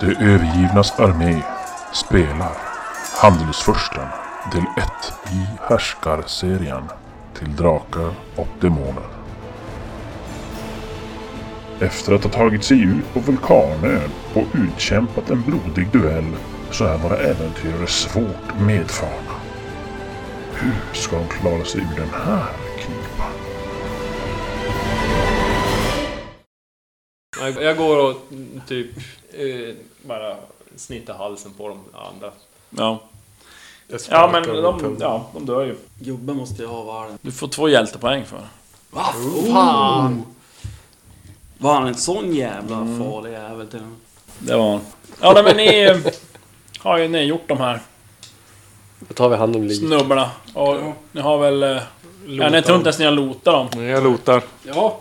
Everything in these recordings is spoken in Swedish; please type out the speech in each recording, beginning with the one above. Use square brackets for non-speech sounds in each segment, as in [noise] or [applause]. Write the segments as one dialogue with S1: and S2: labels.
S1: De övergivnas armé spelar Handelsfursten del 1 i Härskarserien till Drakar och Demoner. Efter att ha tagit sig ut på vulkanön och utkämpat en blodig duell så är våra äventyrare svårt medfarna. Hur ska de klara sig ur den här knipan?
S2: Jag, jag går och mm, typ eh, bara snittar halsen på de andra.
S3: Ja.
S4: Jag sparkar
S3: Ja men de,
S4: mot
S3: ja, de dör ju.
S5: Jobben måste jag ha valen.
S3: Du får två hjältepoäng för.
S5: Va fan! Var han en sån jävla
S3: Mm.
S5: farlig jävel till honom?
S3: Det var Ja nej, men ni
S2: [laughs]
S3: eh, har ju ni gjort de här
S4: Då tar vi hand om Li.
S3: snubbarna. Och ni har väl... eh, Ja, ni tror inte ens ni har lotat dem.
S4: Nej, jag lotar.
S3: Ja.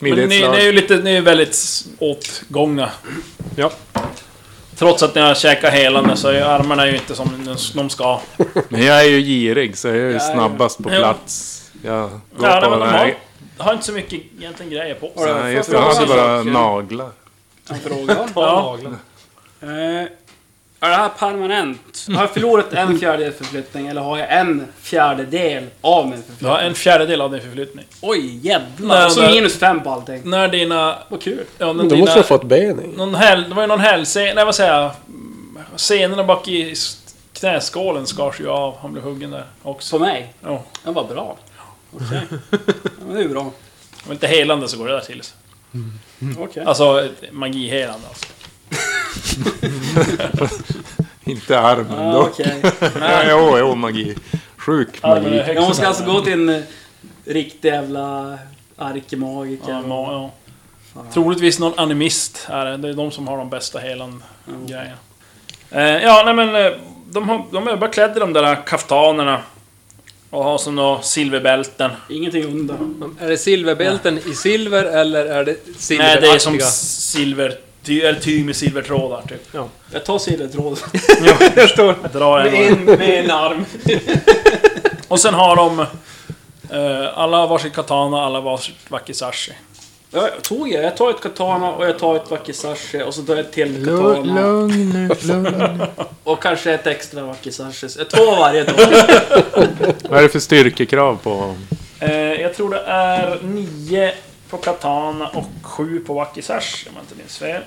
S3: Men ni, ni
S4: Smidighetsslag.
S3: är ju lite, ni är ju väldigt s- åtgångna.
S4: Ja.
S3: Trots att ni har käkat helande så är ju armarna ju inte som de- de ska.
S4: Men jag är ju girig så jag är ju snabbast på
S3: Ja.
S4: plats. Jag går
S3: Ja, nej,
S4: på
S3: men de
S4: den
S3: har,
S4: här...
S3: har inte så mycket egentligen grejer på sig.
S4: Nej, just det. Jag hade bara naglar.
S3: Ja.
S5: är det här permanent? Har jag förlorat en fjärdedel förflyttning eller har jag en fjärdedel av min förflyttning?
S3: Du har en fjärdedel av din förflyttning.
S5: Oj jävlar!
S3: Nej,
S5: Och så
S3: men-
S5: minus fem på allting.
S3: När dina...
S5: Vad kul!
S3: Ja, när
S4: Då
S3: dina
S4: måste jag fått ben i.
S3: någon häl, det var ju någon hälsena, nej vad säger jag? Senorna bak i s- knäskålen skars ju av. Han blev huggen där också.
S5: På mig?
S3: Ja.
S5: Den var bra. Okej. Ja, men det är bra.
S3: Om inte helande så går det där till. Mm.
S5: Okej.
S3: Alltså magihelande alltså.
S4: Inte armen
S5: Ja,
S4: då.
S5: okej.
S4: Ja, jo, jo, magi. Sjuk
S3: Ah, Ja, men det är
S4: magi.
S3: högst
S5: Jag måste
S3: där.
S5: alltså gå till en eh, riktig jävla arkemagiker.
S3: Ja, ma- ja. Troligtvis någon animist är det. Det är de som har de bästa helan-grejerna. Eh, ja, nej men... eh, De, har, de är bara klädda i de där kaftanerna. Och har som några silverbälten.
S5: Ingenting under.
S3: Mm.
S6: Är det silverbälten i silver eller är det
S3: Nej,
S6: silveraktiga?
S3: det är som silver... Ty, eller tyg med silvertrådar, typ.
S5: Jag tar silvertråd. [laughs]
S6: jag står
S3: Drar en
S6: med en, med en arm.
S3: [laughs] Och sen har de... Eh, alla har varsin katana, alla har varsitt wakizashi.
S5: Jag tog jag. Jag tar ett katana och jag tar ett wakizashi och så tar jag ett till katana.
S4: nu, lugn nu.
S5: Och kanske ett extra wakizashi. Jag tar varje dag.
S4: Vad är det för styrkekrav på
S3: Eh, jag tror det är nio på katana och sju på wakizashi, om jag inte minns fel.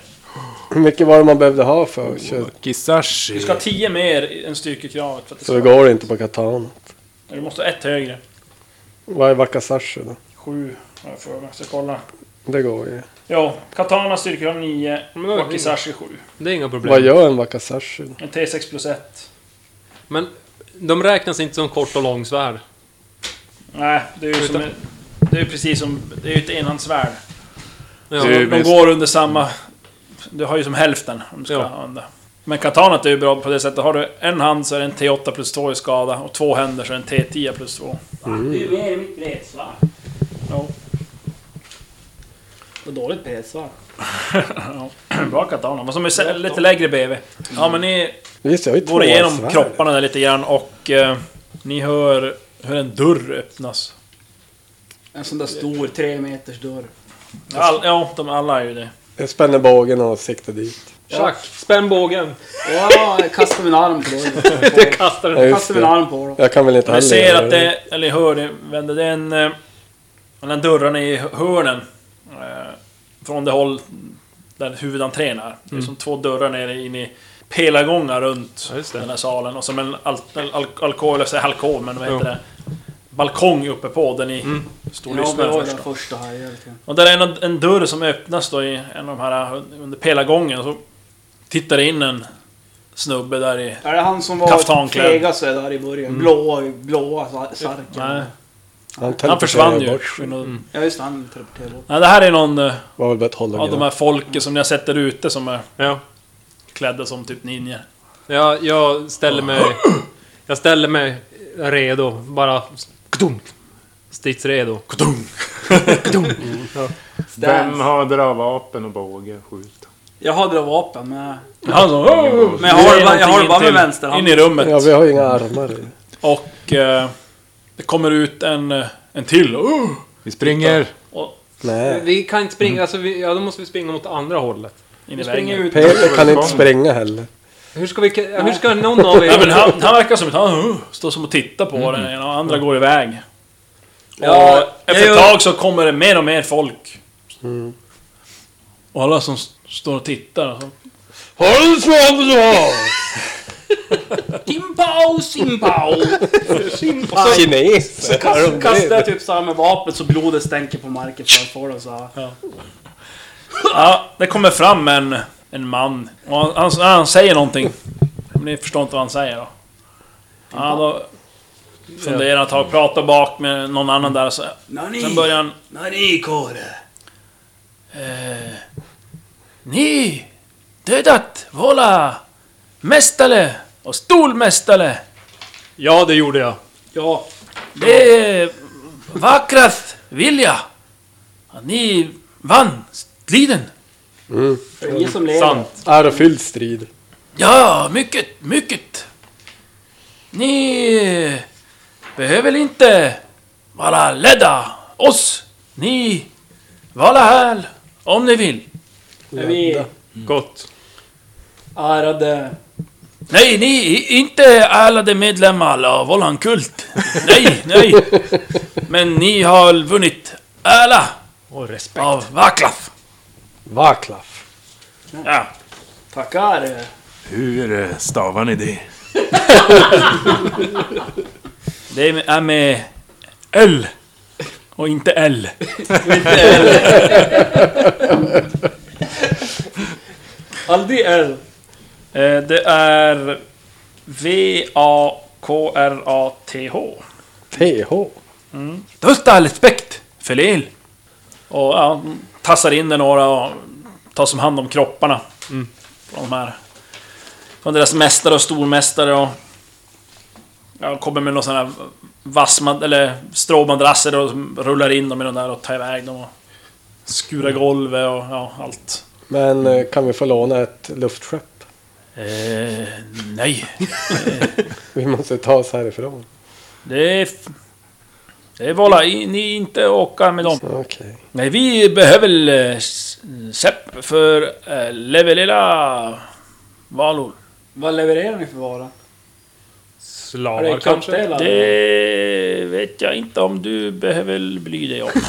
S7: Hur mycket var det man behövde ha för kött?
S4: Kisashi?
S3: Du ska ha tio mer än styrkekravet för att det
S7: Så det
S3: ska...
S7: går inte på katan.
S3: Du måste ha ett högre.
S7: Vad är wakasashi då?
S3: Sju, har jag för mig. Jag ska kolla.
S7: Det går ju.
S3: Ja, katana styrkekrav nio,
S6: Men då-
S3: wakizashi sju.
S6: Det är inga
S7: Vad
S6: problem.
S7: gör en wakasashi då?
S3: En T6 plus ett.
S6: Men de räknas inte som kort och långsvärd.
S3: Nej, det är ju som
S6: Utan-
S3: en, Det är ju precis som... Det är ju ett enhandsvärd.
S6: Ja,
S4: Du-
S3: De, de
S4: visst.
S3: går under samma... Du har ju som hälften om du ska
S6: Ja.
S3: använda. Men katanat är ju bra på det sättet. Har du en hand så är det en T8 plus 2 i skada och två händer så är det en T10 plus 2.
S5: Det är mer i mitt bredsvärd.
S3: Ja.
S5: Vad dåligt bredsvärd.
S3: [clears throat] Bra katana, men som är sä- lite lägre BV. Ja men ni
S7: Visst, jag har ju två
S3: går igenom
S7: svärd.
S3: kropparna där lite grann och eh, ni hör hur en dörr öppnas.
S5: En sån där stor tre meters dörr.
S3: All, ja, de alla är ju det.
S7: Jag spänner bågen och siktar dit.
S6: Tjack! Spänn bågen!
S5: Ja, jag kastar min arm på [laughs] dörren.
S6: Du kastar den.
S7: Ja, just
S5: Kastar min
S7: det.
S5: arm på dem.
S7: Jag kan väl inte
S3: Ni
S7: heller
S3: ser
S7: göra
S3: att det, eller hör det, vänder det är en... eh, Den här dörren är i hörnen. eh, Från det håll där huvudentrén är. Det är som två dörrar nere in i pelargångar runt
S6: Mm. Ja, just det.
S3: den här salen. Och som en al- al- al- alkov, eller säger alkov, men vad heter det? Balkong uppe på där ni
S6: Mm.
S3: stod och
S5: Jag
S3: lyssnade
S5: var
S3: först.
S5: den
S3: då.
S5: första typ. här hela tiden.
S3: Och där är en, en dörr som öppnas då i en av de här eh, under pelargången. Och så tittar det in en snubbe där i...
S5: Är det han som var
S3: Kaftanklädd.
S5: fegast där i början? Blåa, blåa sar-
S3: Mm. Nej,
S5: sarken.
S7: Han,
S3: han försvann ju.
S7: teleporterar bort.
S6: Mm.
S5: Ja just det, han teleporterade bort.
S3: Nej, det här är någon... eh,
S7: Var väl bara ett hologram.
S3: Ja, de här folket som ni har sett där ute som är
S6: Ja.
S3: klädda som typ ninjer.
S6: Ja, jag ställer mig... Jag ställer mig redo. Bara... Kdunk! Stridsredo. Kdunk!
S4: Vem har dravapen och båge och skjuta?
S5: Jag hade det vapen men...
S3: Han
S6: alltså,
S3: så...
S6: oh,
S5: Men jag har det bara- jag har det bara med
S3: In
S5: vänsterhanden.
S3: i rummet.
S7: Ja, vi har ju inga armar. i.
S3: Och... Eh, det kommer ut en, eh, en till. Uh!
S4: Vi springer!
S3: Och,
S7: Nej.
S6: Vi kan inte springa, alltså vi, ja, då måste vi springa mot andra hållet.
S3: in i
S6: Nu springer
S3: väggen.
S6: jag ut.
S7: Peter kan inte spränga heller.
S6: Hur ska, vi, hur ska någon av
S3: Ja, men
S6: er...
S3: han, han verkar som att han uh, står som och tittar på den
S6: Mm.
S3: ena och andra går iväg.
S6: Ja,
S3: och efter
S6: jag
S3: ett
S6: gör-
S3: tag så kommer det mer och mer folk.
S7: Mm.
S3: Och alla som s- står och tittar. och Så.
S7: Håll svaveln du har!
S5: Simpao, [laughs] simpao!
S7: Kines!
S5: Kast- Kastar jag typ såhär med vapnet så blodet stänker på marken framför och så.
S3: Ja, det kommer fram en, en man. Och han, han, han säger någonting. Men ni förstår inte vad han säger då. Ja, då funderar han ett tag, pratar bak med någon annan där. Så, sen
S5: Nani,
S3: börjar han...
S5: nani kore.
S3: Ni dödat våra mästare och stormästare.
S6: Ja, det gjorde jag.
S5: Ja,
S3: Det är vackrast vilja. Att ni vann striden.
S5: det är ingen som lever.
S6: Sant.
S7: Ärofylld strid.
S3: Ja, mycket, mycket. Ni behöver inte vara ledda oss. Ni vara här om ni vill.
S5: Är vi
S6: Gott.
S5: ärade...
S3: Nej, ni är inte alla de medlemmar av våran kult. Nej, nej. Men ni har vunnit alla
S6: Och respekt.
S3: av Vaklaff.
S7: Vaklaff.
S3: Ja.
S5: Tackar!
S4: Hur eh, stavar ni det?
S3: Det är med L. Och inte L.
S5: Aldrig är...
S3: Eh, Det är V-A-K-R-A-T-H.
S7: TH.
S3: Största respekt för Lil. Och ja, de tassar in det några och tar som hand om kropparna. Från de här. Från deras mästare och stormästare och... Ja, kommer med någon sån här vassmad, eller stråmadrasser och rullar in dem i de där och tar iväg dem och... Skurar golvet och ja, allt.
S7: Men eh, kan vi få låna ett luftskepp?
S3: Eh, nej.
S7: Vi måste ta oss härifrån.
S3: Det är... f- Det är bara, ni inte åka med dem.
S7: Okej.
S3: Nej, vi behöver väl eh, s- Sepp för eh, leverera valor.
S5: Vad levererar ni för vara? Är
S6: Slavar
S5: det
S6: kanske?
S5: kampdelar?
S3: Det vet jag inte om du behöver bly dig om. [laughs]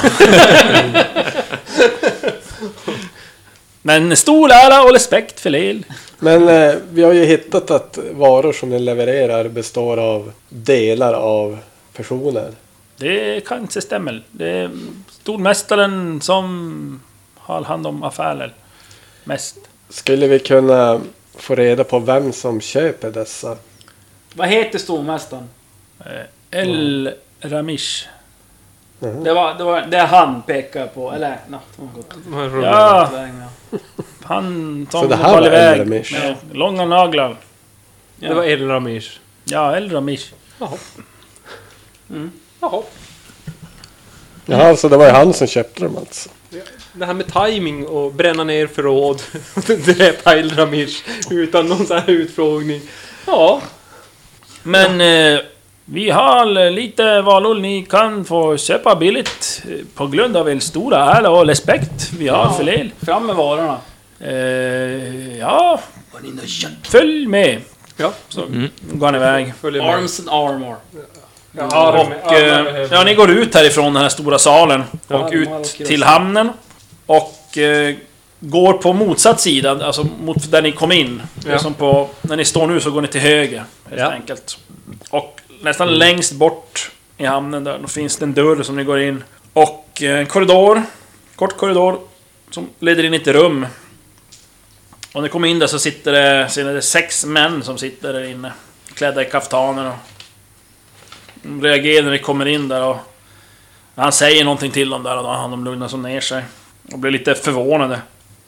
S3: Men stor ära och respekt för Leil.
S7: Men eh, vi har ju hittat att varor som ni levererar består av delar av personer.
S3: Det kanske stämmer. Det är stormästaren som har hand om affärer. Mest.
S7: Skulle vi kunna få reda på vem som köper dessa?
S5: Vad heter stormästaren?
S3: El Ramish.
S5: Det var, det var det han pekade på, eller no, hon gått
S6: De här rullarna.
S3: Ja,
S5: vägen, ja.
S3: han
S7: Så
S3: som
S7: det här
S3: var
S7: var El
S3: iväg
S7: Ramish?
S3: med långa naglar.
S6: Det var El Ramish.
S3: Ja, El Ramish.
S6: Jaha.
S7: Jaha, så det var ju han som köpte dem alltså.
S6: Det här med timing och bränna ner förråd. [laughs] Dräpa El Ramish utan någon sån här utfrågning. Ja.
S3: Men eh, vi har eh, lite valor ni kan få köpa billigt eh, på grund av er stora ära och respekt vi har för er.
S5: Fram med varorna.
S3: Eh, ja, följ med.
S6: Ja.
S3: Så går han iväg.
S6: Följer med.
S5: Arms and armor.
S6: Ja, och,
S3: Och, eh, ja, ni går ut härifrån den här stora salen och ut till hamnen. Och eh, går på motsatt sida, alltså mot där ni kom in. Det är
S6: Ja.
S3: Som på, när ni står nu så går ni till höger, helt
S6: Ja.
S3: enkelt. Och nästan längst bort i hamnen där, då finns det en dörr som ni går in. Och eh, en korridor, kort korridor, som leder in i ett rum. Och när ni kommer in där så sitter det, ser ni det är sex män som sitter där inne. Klädda i kaftaner och... De reagerar när ni kommer in där och... När han säger någonting till dem där och då har de lugnat som ner sig. Och blir lite förvånade.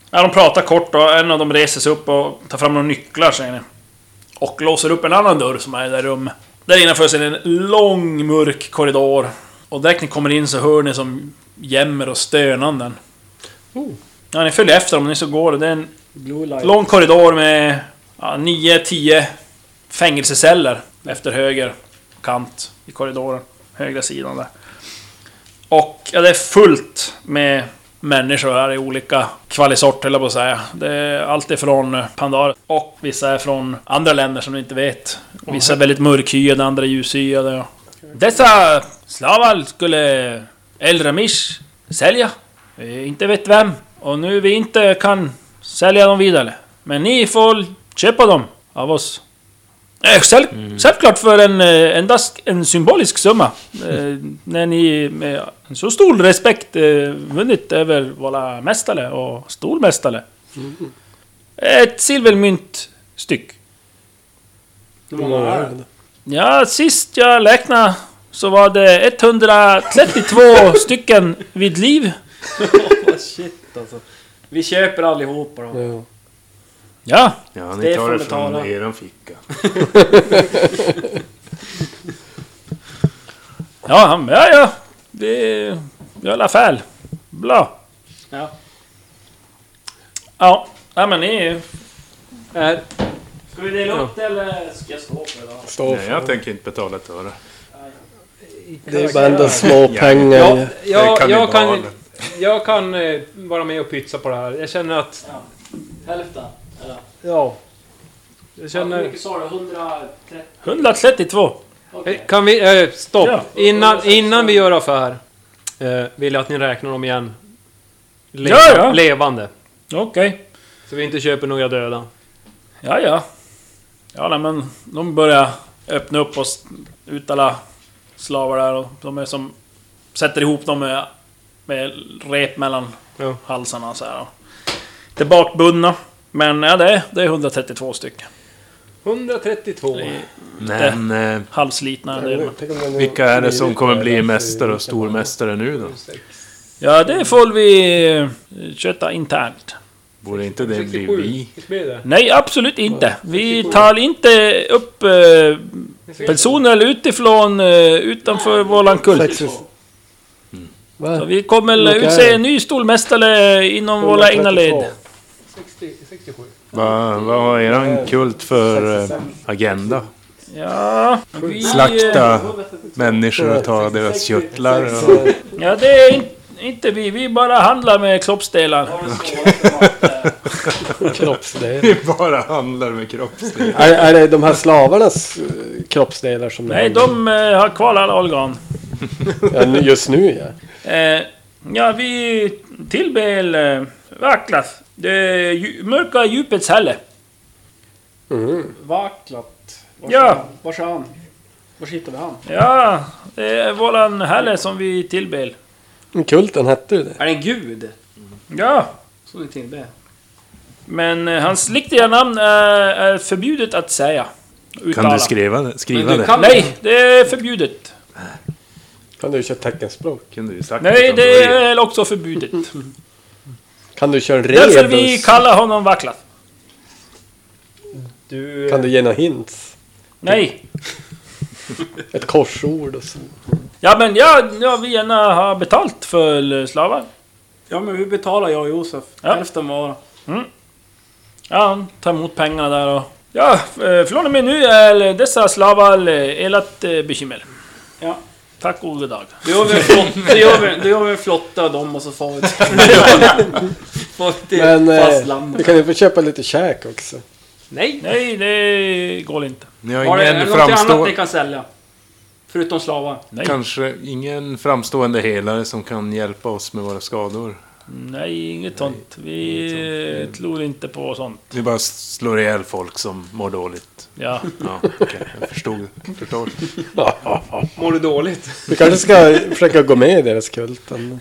S3: Ja, de pratar kort och en av dem reser sig upp och tar fram några nycklar säger ni. Och låser upp en annan dörr som är i det där rummet. Där innanför ser ni en lång mörk korridor. Och direkt ni kommer in så hör ni som jämmer och stönanden. Ja, ni följer efter dem, ni så går det. Det är en
S5: Oh. Blue light.
S3: Lång korridor med 9-10 fängelseceller efter höger kant i korridoren. Högra sidan där. Och ja, det är fullt med människor här i olika kvalisort, höll jag på att säga. Det är allt ifrån pandarer och vissa är från andra länder som du inte vet. Vissa är väldigt mörkhyade, andra är ljushyade. Dessa slavar skulle El Ramish sälja. Eh, Inte vet vem. Och nu vi inte kan sälja dem vidare. Men ni får köpa dem av oss. Eh, Själv, Självklart för en, eh, endast en symbolisk summa. Eh, när ni med en så stor respekt eh, vunnit över våra mästare och stormästare. Ett silvermynt styck.
S5: Hur många är det?
S3: Ja, sist jag räknade så var det 132 stycken vid liv.
S5: Åh, Shit alltså. Vi köper allihopa då.
S7: Ja.
S3: Ja,
S4: Ja, ni
S5: Stefan
S4: tar det från
S5: betalar.
S4: eran ficka.
S3: ja, han- ja, ja. Det är i alla fall. Bra.
S5: Ja.
S3: Ja, nej men ni...
S6: Är,
S3: Ska vi dela upp det eller ska jag stå för det?
S7: Stå
S4: Nej, jag
S7: för.
S4: tänker inte betala ett öre.
S7: Det är bara ändå små pengar.
S6: ja,
S4: Det
S6: jag,
S4: är
S6: jag, kan,
S4: kannibalen.
S6: jag kan eh, vara med och pytsa på det här. Jag känner att...
S5: Hälften. Eller?
S6: Ja. Jag
S5: Hur
S6: känner...
S5: mycket sa du? 130?
S3: 132.
S5: Okej.
S6: Eh, Kan vi... Eh, stopp!
S3: Ja.
S6: Innan, innan vi gör affär eh, vill jag att ni räknar dem igen. Leva,
S3: Ja, ja.
S6: Levande.
S3: Okej.
S6: Så vi inte köper några döda.
S3: Ja, ja. Ja, nej, men de börjar öppna upp och s- ut alla slavar där och de är som... Sätter ihop dem med, med rep mellan
S6: Ja.
S3: halsarna så här. Det är bakbundna. Men ja, det, är, det är 132 stycken.
S6: 132.
S4: Men eh,
S3: Halvslitna. Det är,
S7: Tänk om den
S4: vilka är det som kommer bli
S7: Alltså,
S4: mästare och stormästare nu då?
S3: ja, det får vi eh, köta internt.
S4: Borde inte det bli vi?
S6: Fick med det?
S3: Nej, absolut inte. Vi tar inte upp eh, personer utifrån, eh, utanför våran kult.
S7: sexist.
S3: Så
S7: Va?
S3: vi kommer väl
S7: Vilka är
S3: utse
S7: det?
S3: en ny stormästare inom våra egna led.
S6: 60, 67.
S4: Vad vad har eran kult för eh, agenda?
S3: Ja, vi, eh,
S4: Slakta människor och ta deras körtlar? Och...
S3: Ja, det är in, inte vi. Vi bara handlar med kroppsdelar.
S7: Kroppsdelar.
S4: Ni [laughs] bara handlar med kroppsdelar.
S7: är, är det de här slavarnas eh, kroppsdelar som...
S3: Nej, de eh, har kvar alla organ.
S7: Ja, nu- just nu ja.
S3: Eh, ja, vi tillber eh, Vaklas. Det dju- mörka djupets hälle.
S5: Vaklat. Vars
S3: Ja.
S5: är han? Vars är han? Vars hittar vi han?
S3: Ja, det är våran hälle som vi tillber.
S7: Men Kulten hette ju det.
S5: Är det en gud?
S3: Ja,
S5: Som ni tillber?
S3: men eh, hans riktiga namn är, är förbjudet att säga.
S4: Kan
S3: Uttala.
S4: du skriva det? Skriva
S6: Men du
S4: det?
S6: kan-
S3: Nej, det är förbjudet.
S7: Kan du köra teckenspråk?
S4: Kan du ju sagt
S3: Nej,
S4: från
S3: det
S4: början.
S3: är också förbjudet.
S7: Kan du köra rebus?
S3: Därför vi kallar honom Vaklas.
S6: Du...
S7: Kan du ge några hints?
S3: Nej.
S7: Ett korsord och så.
S3: Ja men jag, jag vill gärna ha betalt för eh, slavar.
S5: Ja men vi betalar jag och Josef.
S3: Ja. Mm.
S5: Hälften var.
S3: Ja, han tar emot pengarna där och... Ja, eh, från och med nu är dessa slavar eh, ert eh, bekymmer.
S5: Ja.
S3: Tack och god dag.
S5: Då gör vi en flotta, då gör vi, då gör vi en flotta av dem och så far vi [laughs] till, far vi till
S7: Men eh, vi
S5: fastlandet.
S7: kan ju få köpa lite käk också.
S5: Nej!
S3: Nej, det går inte.
S4: Ni har
S5: Har det, är det
S4: ingen
S5: något annat ni
S4: framstå...
S5: kan sälja? Förutom slavar?
S3: Nej,
S4: Kanske ingen framstående helare som kan hjälpa oss med våra skador.
S3: nej inget sånt. Vi eh, tror inte på sånt.
S4: Vi bara slår ihjäl folk som mår dåligt.
S3: Ja.
S4: Ja, okej. Jag förstod. Förstår.
S6: Mår du dåligt? [laughs]
S7: Vi kanske ska försöka gå med i deras kult. men-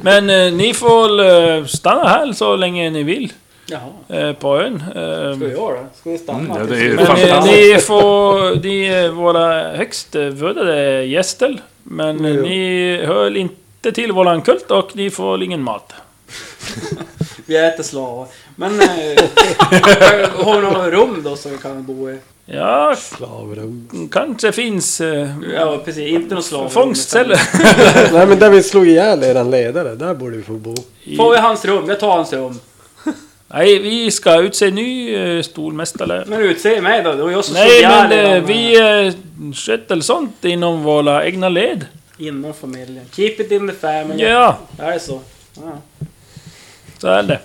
S3: Men eh, ni får eh, stanna här så länge ni vill.
S5: Jaha.
S3: Eh, på ön. Eh,
S5: Ska vi göra det? Ska vi
S4: Mm,
S5: stanna?
S4: ja, det är ju
S3: Men eh,
S4: fantastiskt.
S3: ni får... Ni är våra högst eh, vördade gäster. Men eh, ni hör inte till våran kult och ni får ingen mat.
S5: Vi äter slavar. Men... Eh, [laughs] har vi några rum då som vi kan bo i?
S3: Ja,
S7: Slavrum.
S3: kanske finns... Eh,
S5: Ja precis, inte några slavar.
S3: fångstceller.
S7: Nej men där vi slog ihjäl eran ledare, där borde vi få bo.
S5: Får vi hans rum? Jag tar hans rum.
S3: Nej, vi ska utse ny eh, stormästare.
S5: Men utse mig då, det var jag som
S3: Nej,
S5: ihjäl
S3: men eh,
S5: er,
S3: vi eh, sköter sånt inom våra egna led.
S5: Inom familjen. Keep it in the family.
S3: Ja,
S5: Det är så. Ja.
S3: så är det.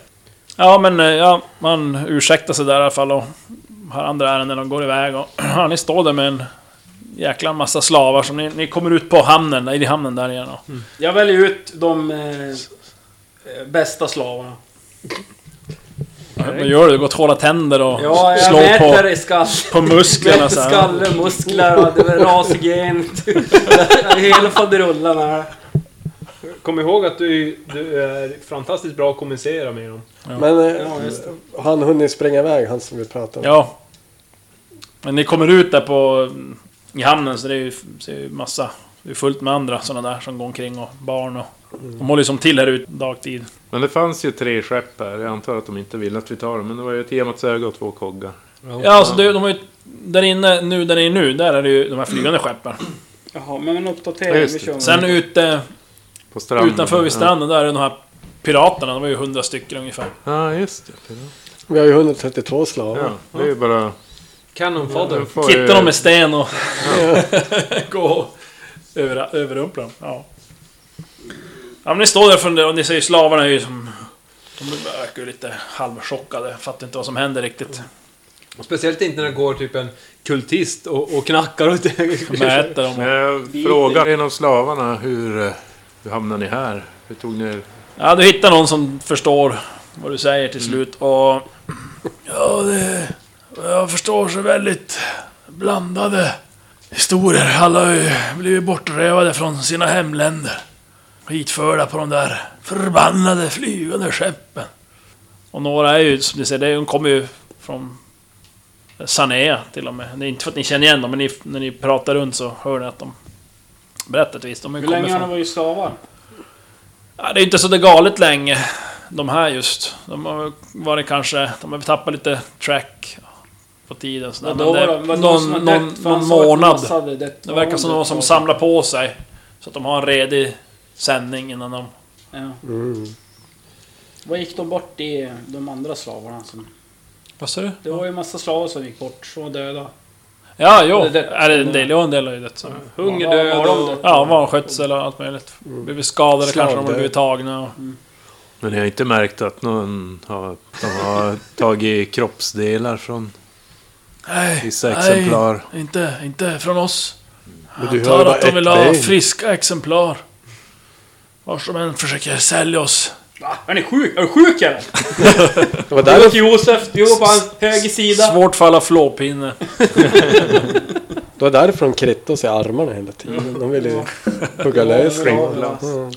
S3: Ja, men eh, ja, man ursäktar sig där i alla fall och har andra ärenden och går iväg och [clears throat] ja, ni står där med en jäkla massa slavar som ni, ni kommer ut på hamnen, nej, i hamnen där igen och,
S5: Jag väljer ut de eh, eh, bästa slavarna.
S3: Vad gör du? Du går och hålla tänder och
S5: Ja, jag
S3: slår
S5: mäter
S3: på,
S5: i skall.
S3: [laughs] på musklerna
S5: Mäter
S3: så här.
S5: skalle, muskler och det var rashygien. Hela faderullan här.
S6: Kom ihåg att du, du är fantastiskt bra att kommunicera med dem.
S7: Men eh,
S5: Ja, just det.
S7: har han hunnit springa iväg, han som vi pratade om?
S3: Ja. Men ni kommer ut där på... I hamnen så det är ju, så är det ju massa... Det är fullt med andra sådana där som går omkring och barn och... De håller ju som till här ute dagtid.
S4: Men det fanns ju tre skepp här. Jag antar att de inte ville att vi tar dem. Men det var ju ett Emats öga och två koggar.
S3: Ja, alltså det, de har ju... Där inne, nu där ni är nu, där är det ju de här flygande skeppen.
S5: Jaha, men en
S4: Ja,
S5: uppdatering.
S4: just
S5: Vi kör
S4: det.
S3: Sen
S5: med.
S3: ute,
S4: På stranden.
S3: utanför vid stranden, där är de här piraterna. De var ju hundra stycken ungefär.
S4: Ja, ah, just det.
S7: Vi har ju 132 slavar.
S4: Ja, det är ju bara...
S6: Cannon fodder.
S4: de får ju-
S3: Kitta dem med sten och... [laughs] gå och över, överrumpla dem. Ja. ja men ni står där och funderar och ni ser ju slavarna är ju som... De verkar ju lite halvchockade. Fattar inte vad som händer riktigt.
S6: Speciellt inte när det går typ en kultist och, och knackar och
S3: De äter dem.
S4: Men
S3: och-
S4: jag frågar Eh, en av slavarna hur... eh, Hur hamnade ni här? Hur tog ni er?
S3: Ja, du hittar någon som förstår vad du säger till slut och... Ja, det... Jag förstår så väldigt blandade historier. Alla har ju blivit bortrövade från sina hemländer. Hitförda på de där förbannade flygande skeppen. Och några är ju, som ni ser, det- de kommer ju från Sanea till och med. Det är inte för att ni känner igen dem, men ni, när ni pratar runt så hör ni att de berättar ett visst. De
S5: Hur
S3: kommer
S5: länge har
S3: från-
S5: de varit slavar?
S3: Ja, det är inte så det galet länge, de här just. De har varit kanske... De har tappat lite track på tiden. Så där.
S5: Vadå
S3: Men det-
S5: då? Vadå
S3: någon
S5: som har
S3: någon,
S5: dött?
S3: någon
S5: Fan, sa att en
S3: månad.
S5: massa hade dött.
S3: Det verkar som någon som
S5: Ja.
S3: samlar på sig. Så att de har en redig sändning innan de...
S4: Mm.
S5: Vad gick de bort i de andra slavarna? Som...
S3: Vad sa du?
S5: Det var ju en massa slavar som gick bort, som var döda.
S3: Ja, jo.
S5: Eller dött.
S3: Är det en del? Ja, en del har ju dött. Så.
S5: Var-
S6: Hungerdöd
S5: var de
S6: och...
S5: döda?
S3: Ja, vanskötsel och allt möjligt. Blivit skadade kanske, de har
S7: Slavdöd.
S3: blivit tagna och...
S4: Men ni har inte märkt att någon har, de har tagit kroppsdelar från
S3: Nej,
S4: vissa exemplar?
S3: Nej, inte, inte från oss.
S7: Men
S3: Jag
S7: du hör
S3: antar
S7: bara
S3: att de
S7: ett
S3: vill ha
S7: ben.
S3: friska exemplar. Vars de än försöker sälja oss.
S5: Va? Är ni sjuk? Är du sjuk eller?
S7: Det var
S5: Du
S7: där
S5: och Josef, du går på hans höger sida.
S3: Svårt för alla flåpinne.
S7: Det var därför de krittade oss i armarna hela tiden. De ville ju hugga lös dem. Mm.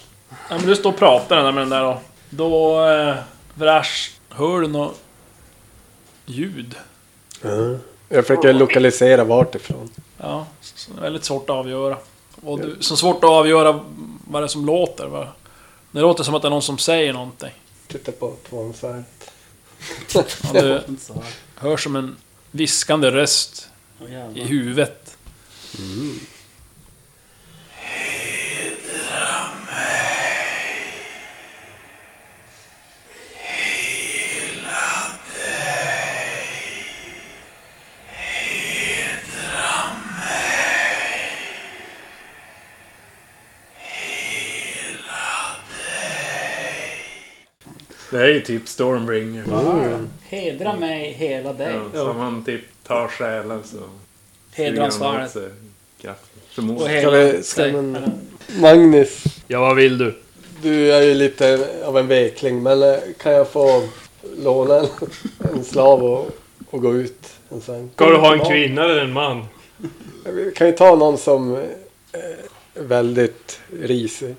S3: Ja, men du står och pratar där med den där då. Då... Eh, Vrash, hör du något ljud?
S7: Ja. Jag försöker lokalisera vart ifrån.
S3: Ja, så det är väldigt svårt att avgöra. Och du, så svårt att avgöra vad det är som låter. Va? Det låter som att det är någon som säger någonting.
S7: Titta på tvåan så här.
S3: Ja, du hör som en viskande röst
S5: Åh, jävlar.
S3: i huvudet.
S4: Det är ju typ Stormbringer.
S5: Hedra mig hela dig.
S4: Ja, som han typ tar själen så...
S5: Hedra hans far. Och
S4: Förmodligen.
S7: Ska
S5: hela
S7: vi, ska
S5: dig.
S7: men, Magnus,
S6: Ja, vad vill du?
S7: du är ju lite av en vekling. Men eh, kan jag få låna en, en slav och, och gå ut en sväng?
S6: Ska du ha en kvinna eller en man?
S7: Vi kan ju ta någon som eh, är väldigt risig.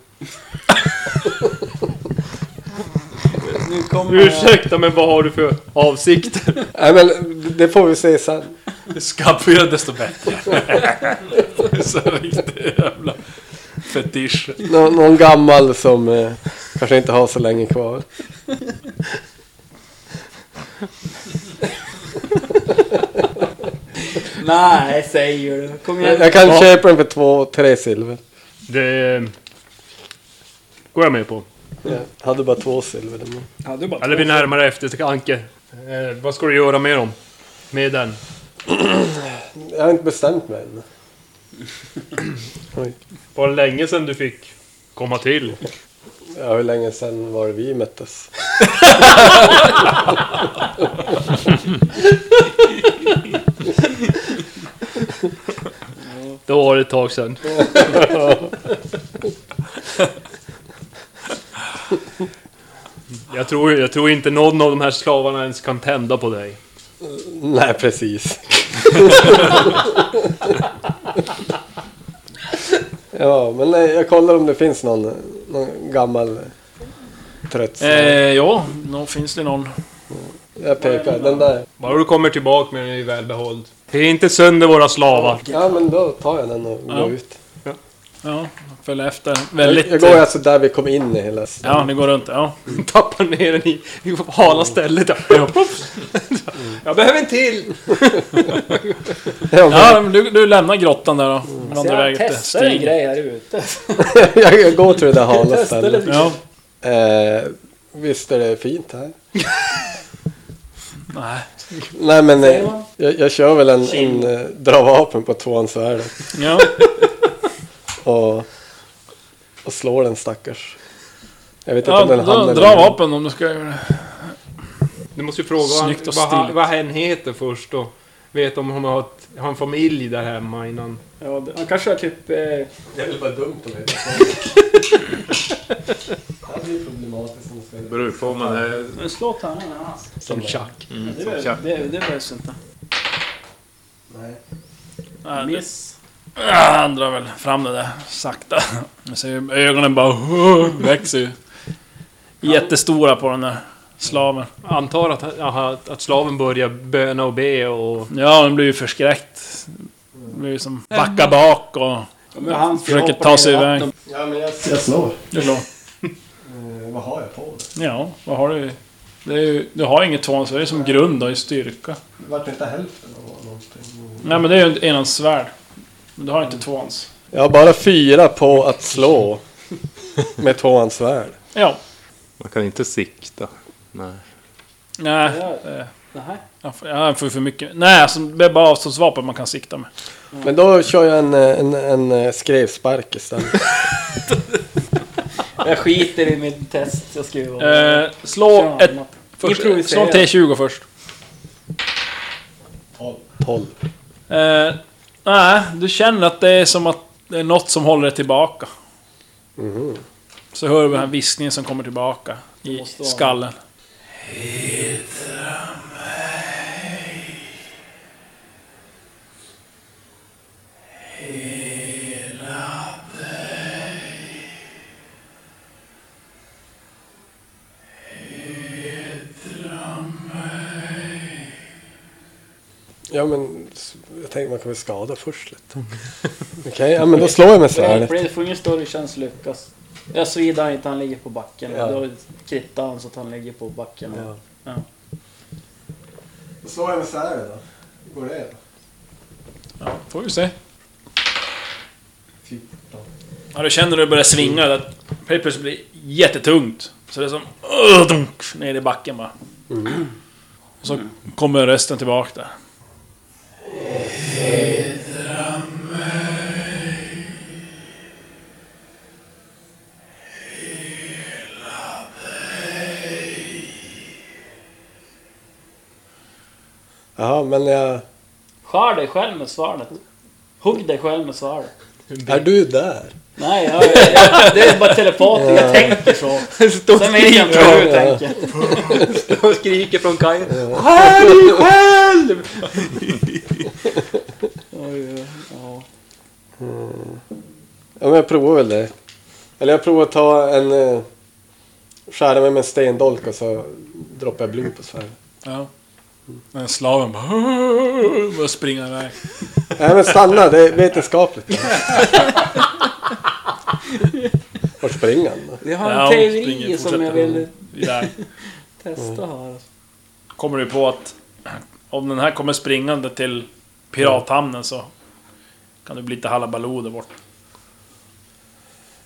S5: Nu kommer...
S6: Ursäkta, men vad har du för [laughs] avsikter?
S7: Nej men det får vi se sen.
S3: Ju skabbigare desto bättre. så riktigt jävla fetisch.
S7: Nå någon gammal som eh, kanske inte har så länge kvar.
S5: Nej, säger du. Kom igen.
S7: Jag kan köpa den för två, tre silver.
S6: [laughs] Det... eh, Går jag med på.
S7: Jag hade bara två silver. den gången.
S5: Ja, du bara...
S6: Eller vi närmar efter Anke. Eh, vad ska du göra med dem? Med den?
S7: Jag har inte bestämt mig än. Oj.
S6: Var det länge sedan du fick komma till?
S7: Ja, hur länge sedan var det vi möttes?
S6: Det var det ett tag sedan. Jag tror, jag tror inte någon av de här slavarna ens kan tända på dig.
S7: Nej, precis. [laughs] ja, men nej, jag kollar om det finns någon, någon gammal trött slav.
S3: Eh, ja, nå finns det någon.
S7: Jag pekar, den där.
S6: Bara du kommer tillbaka med den i välbehåll. Det är inte sönder våra slavar.
S7: Ja, men då tar jag den och
S3: Ja.
S7: går ut.
S3: Ja, följ efter.
S7: Jag,
S3: Väldigt...
S7: jag går alltså där vi kom in i hela... [laughs] s-
S3: Ja, ni går runt. Ja.
S6: Tappar ner den i, i hala stället. Ja, proffs. Jag behöver en till!
S7: Ja, men-
S3: Ja, men du, du lämnar grottan där då.
S5: Mm. Så
S3: Vandrar
S5: jag
S3: iväg efter
S5: testar en
S3: stigen.
S5: grej här ute.
S7: jag, [laughs] jag går till det där hala
S5: Testa
S7: stället.
S5: lite.
S3: Ja.
S7: Eh, visst är det fint här?
S3: Nej.
S7: Nej men
S5: Säger
S7: eh,
S5: man?
S7: jag, jag kör väl en, en
S5: Chill.
S7: eh, dra vapen på tvåan svärd
S5: [laughs]
S3: Ja.
S7: och, och slår den stackars. Jag vet inte
S3: ja
S7: om den
S3: då,
S7: hamnar
S3: dra vapen om du ska göra det.
S6: Du måste ju fråga vad han-
S3: Snyggt och
S6: vad, han-
S3: stiligt.
S6: vad han heter först och vet om han har, ett, har en familj där hemma innan.
S5: Ja, det- han kanske har typ... Eh,
S7: Det är väl bara dumt om det Det är problematiskt om
S4: Det beror ju på om man är...
S5: slå tärningen annars.
S6: Som Chuck.
S4: Mm,
S5: Det,
S4: som
S5: behöver-
S4: tjack.
S5: det, det behövs inte.
S7: Nej.
S3: Nej, det-
S5: Miss.
S3: Ah, Han drar väl fram det där sakta. [laughs] Man ser ju ögonen bara växer ju. Jättestora på den där slaven.
S6: Antar att, att, att slaven börjar böna och be och...
S3: Ja, den blir ju förskräckt. Den blir ju som backa bak och...
S5: Ja, men han
S3: Försöker
S5: hoppar
S3: ta
S5: ner
S3: sig
S5: i
S3: iväg.
S5: vatten.
S7: Ja men jag, jag slår.
S3: Du slår.
S7: vad har jag på det?
S3: Ja, vad har du? Det är ju, du har inget tvåan, så det är som grund då, i styrka.
S7: Vart inte hälften av någonting.
S3: Nej men det är ju en enans svärd. Men du har inte tvåans.
S7: Jag har bara fyra på att slå. Med tvåans svärd.
S3: Ja.
S4: Man kan inte sikta. Nej.
S3: Nej.
S5: Ja.
S3: eh,
S5: Nähä.
S3: Han får, ja, han får ju för mycket. Nej, alltså, det är bara avståndsvapen man kan sikta med.
S7: Men då kör jag en, eh, en, en eh, skrevspark istället.
S5: Jag skiter i mitt test jag skrev. om.
S3: Eh, slå
S5: Tjena.
S3: ett... Först,
S5: Improvisera.
S3: slå en T20 först.
S7: Tolv.
S3: Eh, nej, du känner att det är som att det är något som håller dig tillbaka. Så hör du den här viskningen som kommer tillbaka i
S5: måste vara-
S3: skallen.
S7: Ja men s- jag tänkte man kan väl skada först lite. Okej, ja men då slår jag med
S5: Det
S7: svärdet.
S5: blir- det får ingen större chans lyckas. Jag svidar inte, han ligger på backen.
S7: Ja.
S5: Då krittar han så att han ligger på backen.
S7: Ja.
S5: Ja.
S7: Då slår jag med svärdet då. Går det?
S3: Ja, får vi se.
S7: Fy.
S3: Ja, du känner hur det börjar svinga. Det att helt plötsligt blir jättetungt. Så det är som... Ugh, dunk, ner i backen bara. Och så kommer rösten tillbaka där.
S7: Jaha, men jag...
S5: Skär dig själv med svärdet. Hugg dig själv med svärdet.
S7: Är du där?
S5: Nej, jag, jag, det är bara telepatiskt. Jag tänker så.
S6: Står
S5: Sen vet jag inte hur du
S7: Ja.
S5: tänker.
S6: [laughs] och skriker från kajen.
S5: Oj, oj, ja.
S7: Ja men jag provar väl det. Eller jag provar att ta en... eh, Skära mig med en stendolk och så droppar jag blod på svärdet.
S3: Ja. Men slaven bara... "Ugh", Börjar springa iväg.
S7: Nej men stanna, det är vetenskapligt. Vart springer han då?
S5: Jag har
S3: Ja,
S5: en
S3: hon
S5: teori
S3: springer,
S5: som jag
S3: fortsätter. [laughs]
S5: vill
S3: Där.
S5: testa här. alltså.
S3: kommer du på att om den här kommer springande till pirathamnen så kan det bli lite halabaloo där borta.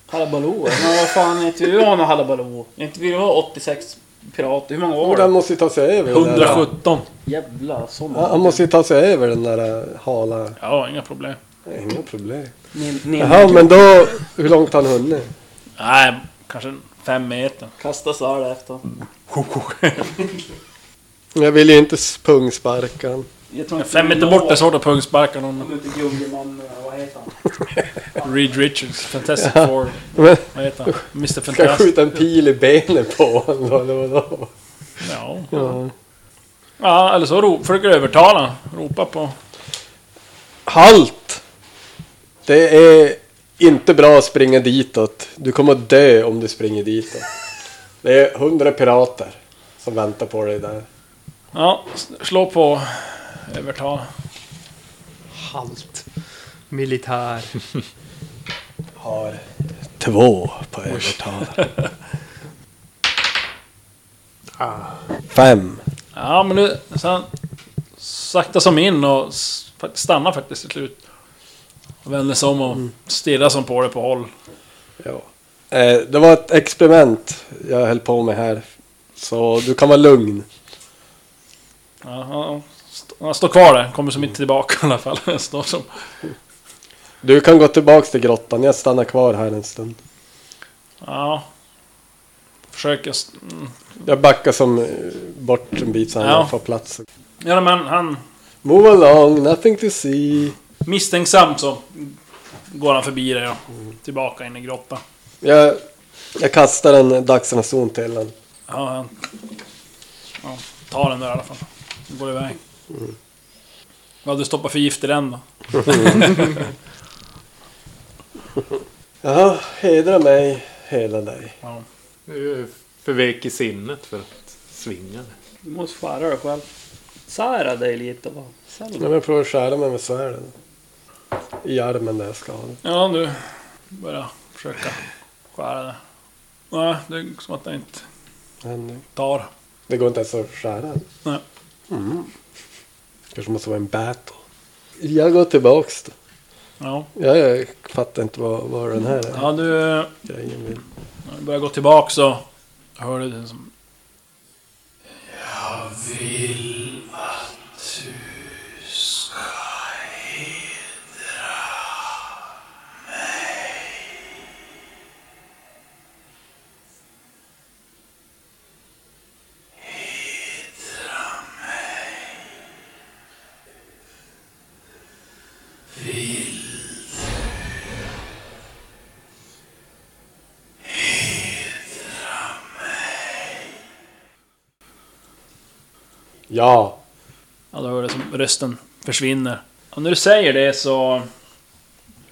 S5: Hallabaloo? Men vad fan, inte vill vi ha någon hallabaloo. Inte vill vi ha 86 pirater. Hur många
S7: Jo,
S5: var
S7: Han
S5: det?
S7: måste ju ta sig över den där...
S3: 117.
S5: Jävla sån.
S7: Ja, Han måste ju ta sig över den där eh, hala...
S3: Ja, inga problem.
S7: Nej, Inga problem.
S5: Ni, ni,
S7: Jaha, men då... Hur långt har han hunnit?
S3: Nej, kanske fem meter.
S5: Kasta svärd efter.
S7: Jag vill ju inte pungsparka han.
S5: Jag tror inte
S3: Fem meter bort är svårt att pungsparka någon.
S5: Om inte Ljungman, vad heter han?
S3: Reed Richards, Fantastic Four.
S7: Men
S3: Vad heter han? Mr
S7: ska jag
S3: Fantastic.
S7: skjuta en pil i benet på honom då, eller vadå?
S3: Ja.
S7: Ja.
S3: ja, eller så ro, försöker jag övertala honom. Ropa på...
S7: Halt! Det är inte bra att springa ditåt. Du kommer att dö om du springer ditåt. Det är hundra pirater som väntar på dig där.
S3: Ja, s- slå på övertala.
S6: Halt. Militär.
S7: Har två på övertal. Fem.
S3: Ja, men nu... Sen sakta som in och s- fakt- stannar faktiskt till slut. Och vänder sig om
S7: Mm.
S3: och stirrar som på det på håll.
S7: Ja. Eh, det var ett experiment jag höll på med här. Så du kan vara lugn.
S3: Ja, han- st- han står kvar där. Kommer som inte tillbaka i alla fall. [laughs] Han står som...
S7: Du kan gå tillbaks till grottan. Jag stannar kvar här en stund.
S3: Ja. Försöker... s- mm.
S7: Jag backar som eh, bort en bit så han
S3: Ja.
S7: får plats.
S3: Ja, men han...
S7: Move along, nothing to see.
S3: Misstänksam så går han förbi det ja. Tillbaka in i grottan.
S7: Jag, jag kastar en dagsranson till honom.
S3: Ja, han ja, tar den där i alla fall. Nu går det iväg. Ja, du stoppar för gift i den då?
S7: Jaha, hedra mig, hela dig.
S3: Ja.
S4: Du förvek i sinnet för att svinga det.
S5: Du måste skära dig själv. Sära dig lite bara. Sälj.
S7: Men jag provar att skära mig med svärden. I armen där jag ska ha den.
S3: Ja, du börjar försöka skära det. Nej, det är som att det inte
S7: Men
S3: tar.
S7: Det går inte ens att skära den.
S3: Nej.
S7: Kanske måste vara en battle. Jag går tillbaks då.
S3: Ja,
S7: Jag, jag fattar inte vad, vad den här
S3: ja du...
S7: grejen vill.
S3: När du börjar gå tillbaka så hör du den som...
S7: Ja,
S3: Ja, du hör det som rösten försvinner. Och när du säger det så...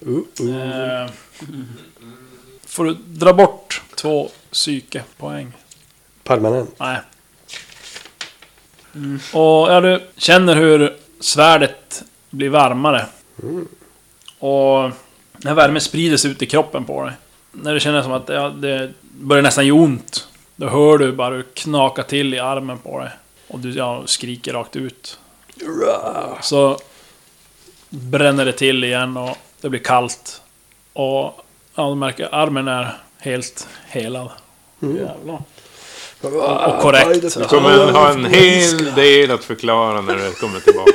S7: uh, uh.
S3: Eh, får du dra bort två psykepoäng.
S7: permanent.
S3: Nej. Och ja, du känner hur svärdet blir varmare. Och den här värmen sprider sig ut i kroppen på dig. När du känner som att ja, det börjar nästan göra ont. Då hör du bara hur det knakar till i armen på dig. Och du ja, skriker rakt ut. Så bränner det till igen och det blir kallt. Och ja, du märker armen är helt helad. Jävlar. Och korrekt.
S4: Du kommer ha en hel del att förklara när du kommer tillbaka.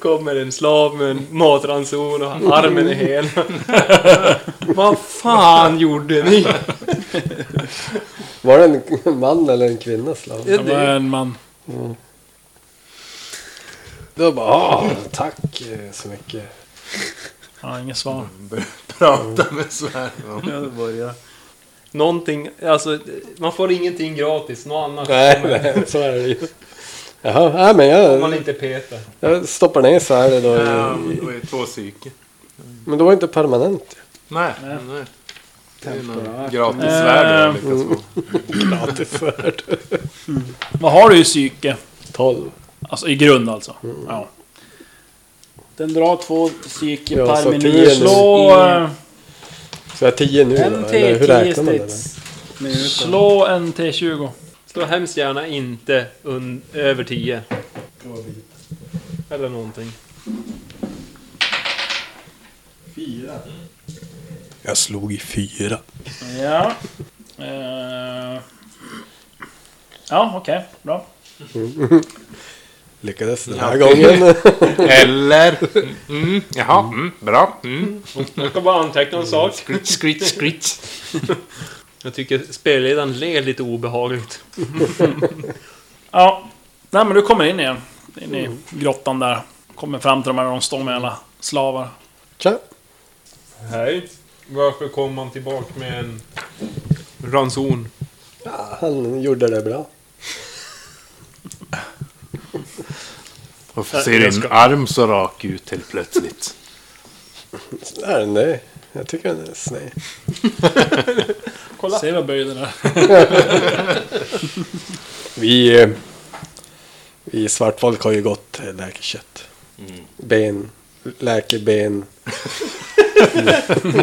S6: Kommer en slav med en matranson och armen är hel. [laughs] Vad fan gjorde ni?
S7: Var det en man eller en kvinna slav?
S3: Det var en man.
S7: Då bara, "Ah, tack eh, så mycket.
S3: Han har inget svar.
S4: [laughs] Prata med svärden.
S6: Någonting, alltså man får ingenting gratis. Något annat
S7: Nej,
S6: kommer.
S7: nej, så är det ju. Jaha, nej, men
S6: Om man
S7: jag,
S6: inte petar.
S7: jag stoppar ner svärdet då. i-
S4: Det var ju två psyke.
S7: Men det var inte permanent.
S4: Nej. nej. Det är någon
S5: Temporärt.
S4: gratis
S5: Eh.
S4: svärd du har lyckats få.
S3: Vad har du i psyke?
S7: 12.
S3: Alltså i grund alltså. Ja.
S5: Den drar två psyke
S7: Ja,
S5: per
S7: så
S5: minut.
S7: tio nu.
S3: Slå,
S5: i
S3: eh,
S7: Så jag har 10 nu då?
S5: en
S7: Eller hur
S5: till tio
S7: räknar man det?
S5: strids. minuter.
S3: slå en T20.
S6: Slå hemskt gärna inte un- över 10. Eller någonting.
S7: Jag slog i 4.
S3: Ja. Eh, Ja, okej. Bra.
S7: Lyckades den här gången.
S4: Eller? Mm, jaha, mm, bra. Mm.
S2: Jag ska bara anteckna en sak.
S6: Skritt, skritt, skritt. Jag tycker spelledaren ler lite obehagligt.
S3: Ja. Nej men du kommer in igen. In i
S5: Mm.
S3: grottan där. Kommer fram till de här där de står med alla slavar.
S7: [laughs] Tja.
S6: Nej. Varför kom man tillbaka med en ranson?
S7: Ja, han gjorde det bra.
S4: Varför ser din arm så rak ut helt plötsligt?
S7: Så Är den det? Jag tycker den är sned.
S3: Kolla. Ser du böjden där?
S7: Vi, eh, vi svartfolk har ju gott eh, läkekött. Mm. Ben, läkeben.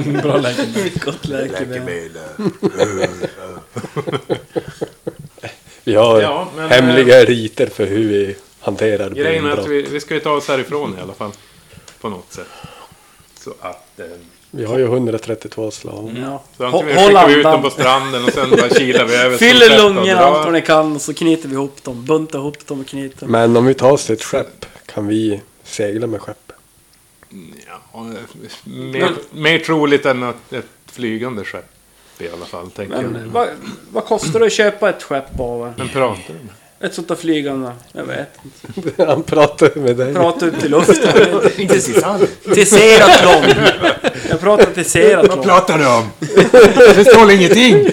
S3: [laughs] Bra läge.
S5: Gott läkemedel. [laughs]
S7: Vi har
S4: Ja, men, eh,
S7: hemliga riter för hur vi hanterar
S4: Grejen är att
S7: benbrott. Vi...
S4: vi, vi ska ju ta oss härifrån i alla fall. På något sätt. Så att... Eh,
S7: har ju 132 slavar.
S5: Ja.
S4: så
S5: Hå-
S4: antingen
S5: Håll
S4: skickar vi ut dem på
S5: andan.
S4: stranden och sen bara kilar vi över.
S5: Fyll
S4: stort sett och
S5: lungorna
S4: drar.
S5: allt vad ni kan och så knyter vi ihop dem. Buntar ihop dem och knyter. dem.
S7: Men om vi tar oss till ett skepp kan vi segla med skeppet.
S4: Ja, eh, mer, mer troligt än att ett flygande skepp i alla fall, tänker jag.
S5: Men vad, vad kostar det att köpa ett skepp av?
S4: Men pratar du med?
S5: Ett sånt där flygande? Jag vet inte.
S7: [laughs] Han pratar med dig.
S5: Prata ut i luften.
S4: Inte
S5: [laughs]
S4: Susanne.
S5: Till Seratlon! Jag pratar till Seratlon.
S4: pratar du
S5: [laughs]
S4: om? Jag förstår ingenting!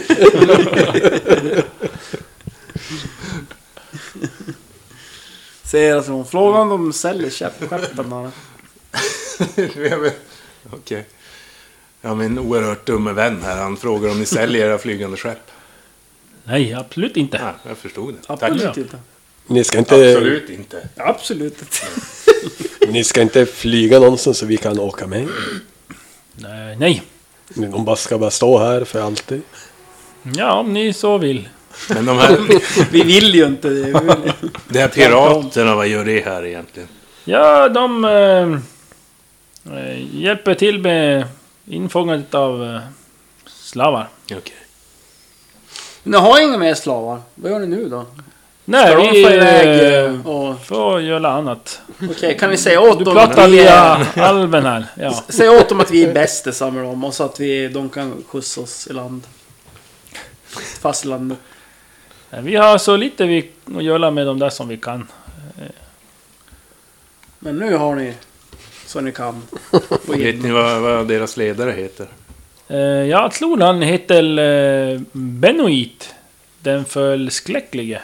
S5: Seratlon. Fråga om de säljer käppskeppen.
S4: [laughs]
S5: eller?
S4: Okej. Ja, min oerhört dumme vän här, han frågar om ni säljer era flygande skepp.
S3: Nej, absolut inte.
S4: Ja, jag förstod det. Tack.
S5: Absolut inte.
S7: Ni ska inte,
S4: Absolut inte.
S5: Absolut inte.
S7: Ni ska inte flyga någonstans så vi kan åka med.
S3: Nej, nej.
S7: De bara ska bara stå här för alltid.
S3: Ja, om ni så vill.
S4: Men de här,
S5: Vi vill ju inte det. Vi vill-
S4: de här piraterna, vad gör det här egentligen?
S3: Ja, de eh, eh, hjälper till med infångandet av eh, slavar.
S4: Okej.
S5: Ni har inga mer slavar. Vad gör ni nu då?
S3: Nej,
S5: Ska de
S3: vi
S5: få iväg...
S3: eh,
S5: eh, och-
S3: får göra annat.
S5: Okej, kan ni säga åt
S3: Du
S5: dem
S3: pratar
S5: att vi
S3: via
S5: är...
S3: alven här. Ja.
S5: Säg åt dem att vi är bästisar med dem och så att vi, de kan skjutsa oss i land. Fastlandet.
S3: Eh, Vi har så lite vi att göra med de där som vi kan.
S5: Men nu har ni så ni kan. På
S4: Vet ni vad, vad deras ledare heter?
S3: Eh, Jag tror han heter eh, Benoit. Den förskräcklige.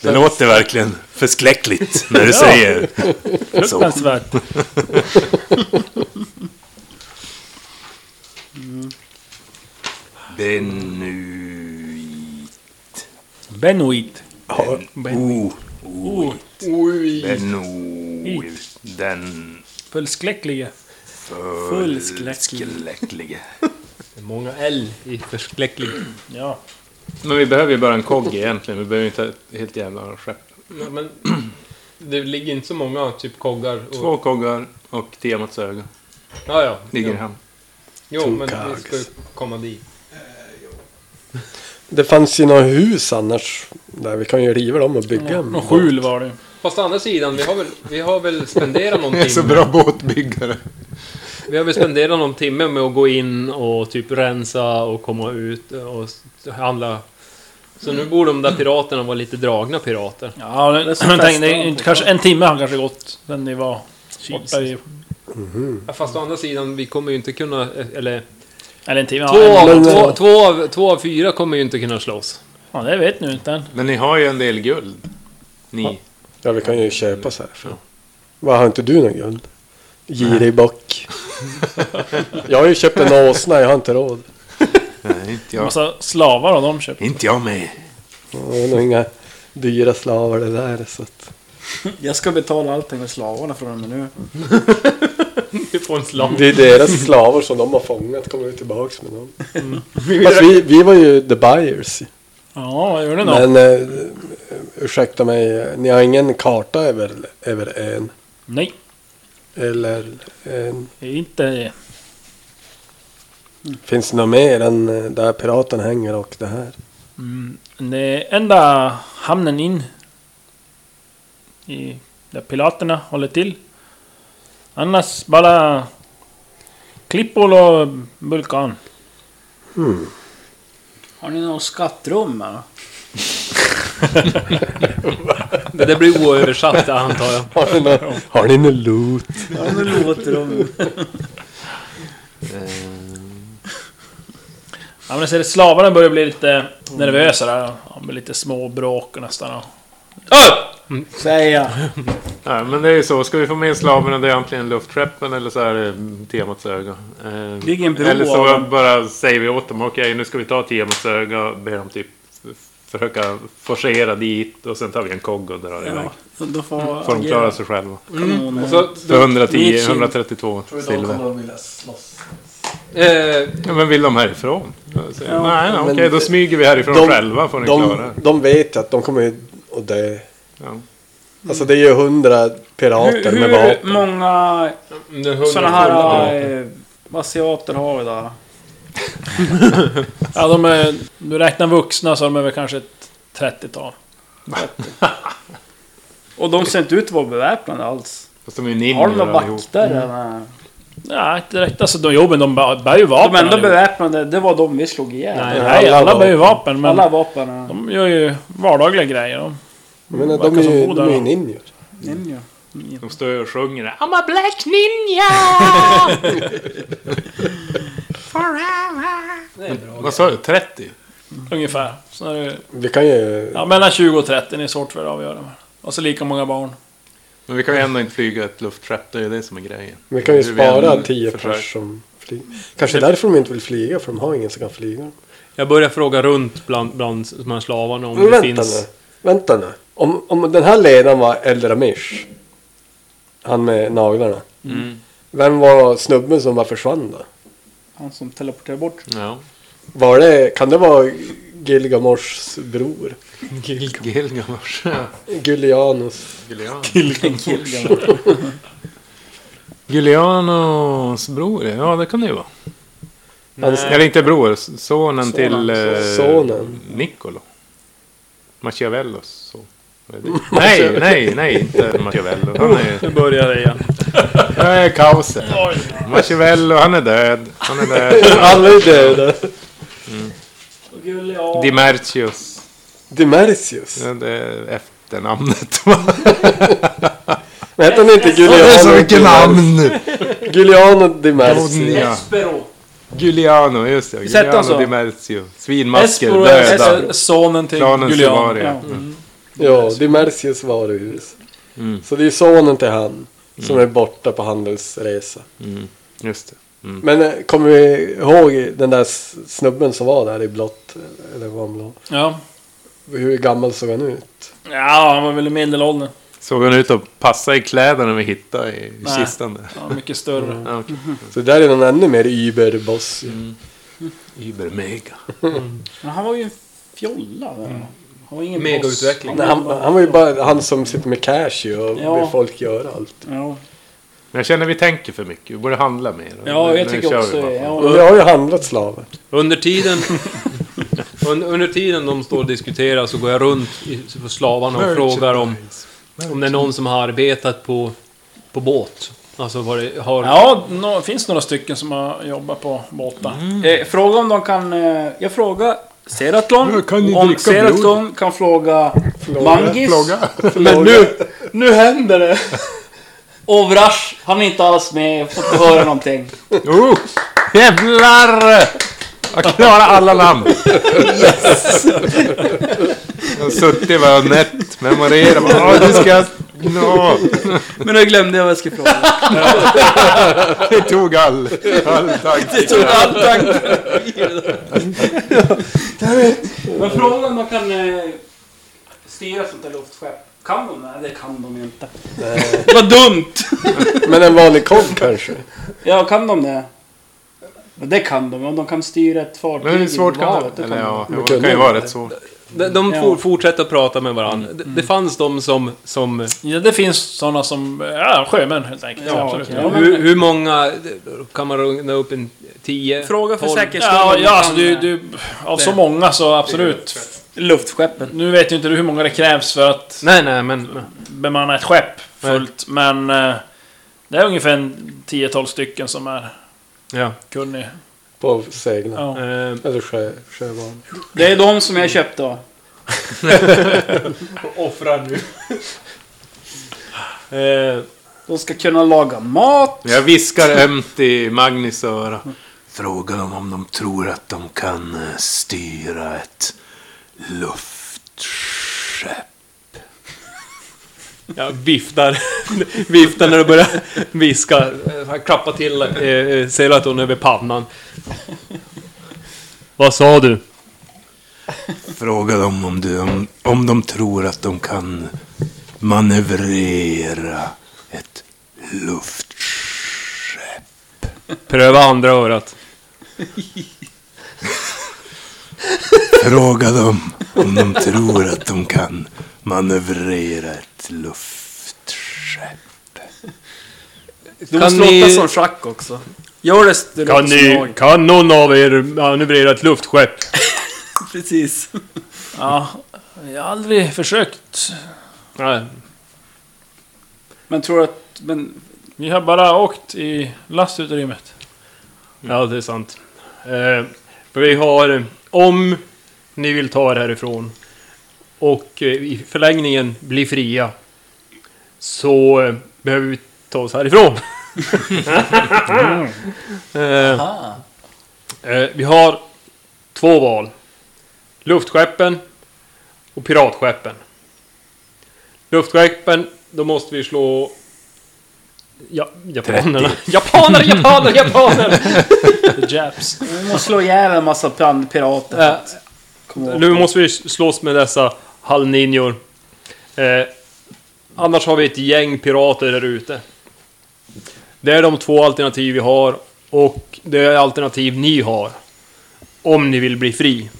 S4: Det låter verkligen förskräckligt när du
S3: Ja.
S4: säger så.
S3: Fruktansvärt.
S4: Benu...
S3: Benoit.
S4: O. O. Benu...
S3: It.
S4: Den
S3: Förskräcklige. Fullskräcklig.
S4: förskräcklige.
S6: Det är många L i förskräcklig.
S3: Ja.
S4: Men vi behöver ju bara en kogg egentligen. Vi behöver inte ett helt jävla skepp.
S6: Nej, men det ligger inte så många typ koggar. Och,
S4: Två koggar och Tiamats öga
S6: Ja, ja.
S4: ligger i
S6: Jo.
S4: hamn.
S6: Jo,
S7: Two
S6: men vi
S7: cogs.
S6: ska ju komma dit.
S7: Det fanns ju några hus annars. Där vi kan ju riva dem och bygga en.
S3: Någon skjul var det.
S6: Fast å andra sidan, vi har väl, vi har väl spenderat någon [laughs] timme.
S4: båtbyggare.
S6: Vi har väl spenderat någon timme med att gå in och typ rensa och komma ut och s- handla. Så nu borde de där piraterna vara lite dragna pirater.
S3: Ja, men
S5: så
S3: tänk,
S5: festade
S3: det
S5: de
S3: är inte,
S5: på
S3: kanske en timme har kanske gått sen ni var borta i...
S6: Ja, Fast å andra sidan, vi kommer ju inte kunna... eh, Eller...
S3: Eller en timme.
S6: Två
S3: Ja, en,
S6: av,
S7: men-
S6: två, två, av, två av fyra kommer ju inte kunna slåss.
S3: ja, det vet ni inte än.
S4: Men ni har ju en del guld. Ni.
S7: Ja, vi kan ju köpa så här. För. Vad har inte du någon guld? Girig bock. jag har ju köpt en åsna, jag har inte råd.
S4: Nej, inte jag.
S3: Massa slavar har de köpt.
S4: Inte jag med.
S7: Jag har nog inga dyra slavar det där. Så att...
S5: Jag ska betala allting med slavarna från och med nu.
S6: Vi får en slav.
S7: Det är deras slavar som de har fångat kommer vi tillbaks med dem. [laughs] Fast vi, vi var ju the buyers.
S3: Ja, vad gjorde de?
S7: Men eh, ursäkta mig, ni har ingen karta över, över ön?
S3: Nej,
S7: Eller en,
S3: inte...
S7: finns det något mer än
S3: Mm,
S7: eh, där piraten hänger och det här?
S3: Den enda hamnen in i där piraterna håller till. Annars bara klippor och vulkan.
S5: Har ni något skattrum eller?
S6: Det där blir oöversatt antar jag.
S7: [laughs] Har ni nå- Har ni något loot?
S5: Har ni något låtrum?
S3: Ja, men jag ser att slavarna börjar bli lite nervösa där. De blir lite småbråk och nästan.
S5: Säger jag.
S4: Nej, men det är ju så. Ska vi få med slaverna det är antingen luftskeppen eller så är det temats öga. Eh,
S5: Ligger en bro
S4: eller så
S5: av dem.
S4: bara säger vi åt dem. Okej, nu ska vi ta temats öga och ber dem typ försöka forcera dit och sen tar vi en kogg och drar iväg.
S5: Ja, Mm. då får,
S4: Får de klara sig själva.
S5: kanoner.
S6: Så,
S4: För 110,
S5: Nietzsche.
S4: 132 silver.
S7: de vilja slåss.
S6: eh,
S4: Ja, men vill de härifrån? Så,
S5: Ja,
S4: nej, nej
S7: men
S4: okej, då
S7: det-
S4: smyger vi härifrån
S7: de-
S4: själva får ni klara
S7: De,
S4: er.
S7: de vet ju att de kommer ju att dö.
S4: ja.
S7: Alltså det är ju hundra pirater
S5: Hur,
S7: med
S5: hur
S7: vapen.
S5: många
S6: det är hundra
S5: sådana
S6: tunnor.
S5: här eh, asiater har vi där?
S3: [laughs] Ja, de är, du räknar vuxna så de är väl kanske ett 30-tal.
S5: [laughs] Och de ser inte ut att vara beväpnade alls.
S4: Fast de är
S5: Har de
S4: ninjor
S5: några
S4: allihop.
S5: vakter eller?
S3: Nej, inte direkt. Alltså de jobben, de bär bär ju vapen.
S5: De enda
S3: allihop.
S5: beväpnade, det var de vi slog ihjäl.
S3: Nej, nej, alla bär ju vapen. Men
S5: Alla vapen är
S3: de gör ju vardagliga grejer. De.
S7: Jag menar,
S3: Verkar
S7: de är
S3: som
S7: ju
S3: goda
S7: de är ju
S3: då.
S7: ninjor.
S5: ninja.
S4: De står ju och sjunger där.
S8: I'm a black
S7: [laughs]
S8: ninja! Forever!
S4: Vad sa du? 30?
S3: Ungefär. Så är det,
S7: Vi kan ju...
S3: ja, mellan 20 och 30, det är svårt för att avgöra. Och så lika många barn.
S4: Men vi kan ju ändå inte flyga ett luftskepp, det är ju det som är grejen.
S7: Vi kan ju
S4: Hur vi än
S7: spara tio
S4: försöker.
S7: pers som flyger. Kanske därför de inte vill flyga, för de har ingen som kan flyga.
S6: Jag börjar fråga runt bland, bland de här slavarna om
S7: Men
S6: det
S7: vänta
S6: finns...
S7: nu. Vänta nu. Om, om den här ledaren var Eldramish. Han med naglarna. Vem var snubben som bara försvann då?
S5: Han som teleporterar bort.
S4: Ja.
S7: Var det, kan det vara Gilgamoshs bror?
S4: Gil- Gilgamesh.
S7: Gullianus?
S4: Gilgamesh.
S5: Kilgan.
S4: Giulianos bror, ja det kan det ju vara.
S7: Hans-
S4: Eller inte bror, sonen, till eh,
S7: Sonen.
S4: Niccolo. Machiavellos son. Vad är det? nej, nej, nej, inte Machiavello. Han är,
S3: [laughs]
S6: Nu börjar det igen.
S4: han är kaoset. Machiavello, han är död. [laughs] Han är död. [laughs]
S7: Alla är döda.
S4: Dimertius,
S7: Dimertius?
S4: ja, det är efternamnet. va?
S7: Men hette han inte
S4: Det
S7: Gulliano?
S4: är [laughs] så mycket
S7: Dimertius?
S4: namn!
S7: Gulliano Dimertius.
S4: Ja. Giuliano, just det.
S5: sätter
S4: Giuliano
S5: han så?
S4: Dimertio. Svinmasker,
S3: Espero
S4: döda.
S5: alltså.
S3: är sonen till
S4: Planen
S3: Julian.
S4: Sivaria.
S5: Ja.
S4: Mm.
S7: Ja, Dimertius varuhus. Så det är sonen till han som
S4: Mm.
S7: är borta på handelsresa.
S4: Just det.
S7: Men eh, kommer vi ihåg den där s- snubben som var där i blått? eh, Eller var han blå?
S3: Ja.
S7: Hur gammal såg han ut?
S3: ja, han var väl i medelåldern.
S4: Såg han ut att passa i kläderna vi hittade i i
S3: Nej.
S4: kistan där?
S3: Ja, mycket större.
S5: Mm.
S4: Ja, okej.
S7: Så där är någon ännu mer überboss.
S4: Übermega.
S5: Men han var ju en fjolla.
S3: Mm.
S5: där. Han var ingen boss.
S6: Megautveckling.
S7: Nej, han, han var ju bara han som sitter med cash ju och
S5: Ja.
S7: ber folk göra allt.
S5: Ja,
S4: Men jag känner vi tänker för mycket. Vi borde handla mer.
S5: ja
S4: Nu-
S5: jag
S4: nu
S5: tycker
S4: kör
S5: också
S4: vi bara.
S5: ja.
S7: Och vi har ju handlat slavar.
S6: Under tiden... un, under tiden de står och diskuterar så går jag runt i, för slavarna och frågar om, om det är någon som har arbetat på, på båt. Alltså vad det har...
S3: Ja, nå- finns några stycken som har jobbat på båtar.
S5: Eh, fråga om de kan... Eh, jag frågar Seratlon.
S4: Jag kan ju
S5: Om
S4: dricka
S5: Seratlon kan fråga Mangis. Men nu, nu händer det! Ovrash, han är inte alls med. Jag får inte höra någonting.
S4: Oh, jävlar! Jag klarar alla
S5: [laughs]
S4: namn. Yes! Jag har suttit bara och nätt, memorerat. Ja, nu ska jag... Nå,
S5: Men nu glömde jag vad jag skulle fråga.
S4: det tog all, all tanke.
S5: Men frågan om man kan eh, styra sånt där luftskepp. Kan de det? Eh. Det kan de ju inte. Vad dumt!
S7: Men en vanlig kock kanske?
S5: Ja, kan de det? Men det kan de. Om de kan styra ett fartyg
S4: Men hur svårt
S5: i
S4: kan
S5: havet,
S4: det
S5: det
S4: Eller
S5: kan
S4: ja,
S5: de.
S4: jo, det kan ju vara rätt svårt.
S6: De, de
S5: Ja.
S6: for, fortsätter att prata med varandra. Det, det fanns de som... som
S3: Ja, det finns sådana som... Ja, sjömän helt enkelt.
S5: Ja,
S3: absolut.
S5: okej. Ja, men-
S6: hur, hur många... Kan man räkna upp en... Tio?
S5: Fråga för
S6: tolv?
S5: säkerhets skull.
S3: Ja,
S5: om de
S3: ja
S5: kan,
S3: alltså, du,
S5: eh,
S3: du, av så många så absolut.
S5: Luftskeppet.
S3: Nu vet ju inte du hur många det krävs för att
S6: Nej, nej, men...
S3: bemanna ett skepp fullt. Men eh, det är ungefär en 10-12 stycken som är
S6: Ja.
S3: kunnig.
S7: På segna.
S3: Ja.
S6: Eh,
S7: Eller sjö, sjövan.
S5: Det är de som jag köpte
S6: [laughs]
S5: va?
S6: Offrar
S5: [laughs]
S6: nu. eh,
S5: De ska kunna laga mat.
S4: Jag viskar ömt i Magnus öra. Fråga dem om de tror att de kan eh, styra ett luftskepp.
S6: jag viftar. [laughs] viftar när du börjar viska. Jag klappar till eh, Selaton över pannan. Vad sa du?
S4: Fråga dem om, du, om, om de tror att de kan manövrera ett luftskepp.
S6: Pröva andra örat.
S4: Fråga dem om de tror att de kan manövrera ett luftskepp.
S5: Du måste låta
S6: ni-
S5: som schack också. Gör det så du
S6: Kan,
S5: låter som
S6: ni,
S5: jag.
S6: kan någon av er manövrera ett luftskepp?
S5: Precis.
S3: Ja, jag har aldrig försökt.
S6: Nej.
S5: Men tror du att... Men
S3: Vi har bara åkt i lastutrymmet.
S6: Ja, det är sant. Eh, för vi har, om ni vill ta er härifrån och eh, i förlängningen bli fria så eh, behöver vi ta oss härifrån. eh, eh, vi har två val. Luftskeppen och piratskeppen. Luftskeppen, då måste vi slå ja, japanerna. Japaner, japaner, japaner!
S3: The Japs.
S5: vi måste slå ihjäl en massa pan- pirater.
S6: Eh, Nu måste vi slåss med dessa halvninjor. Eh, annars har vi ett gäng pirater där ute. Det är de två alternativ vi har och det är alternativ ni har. Om ni vill bli fri.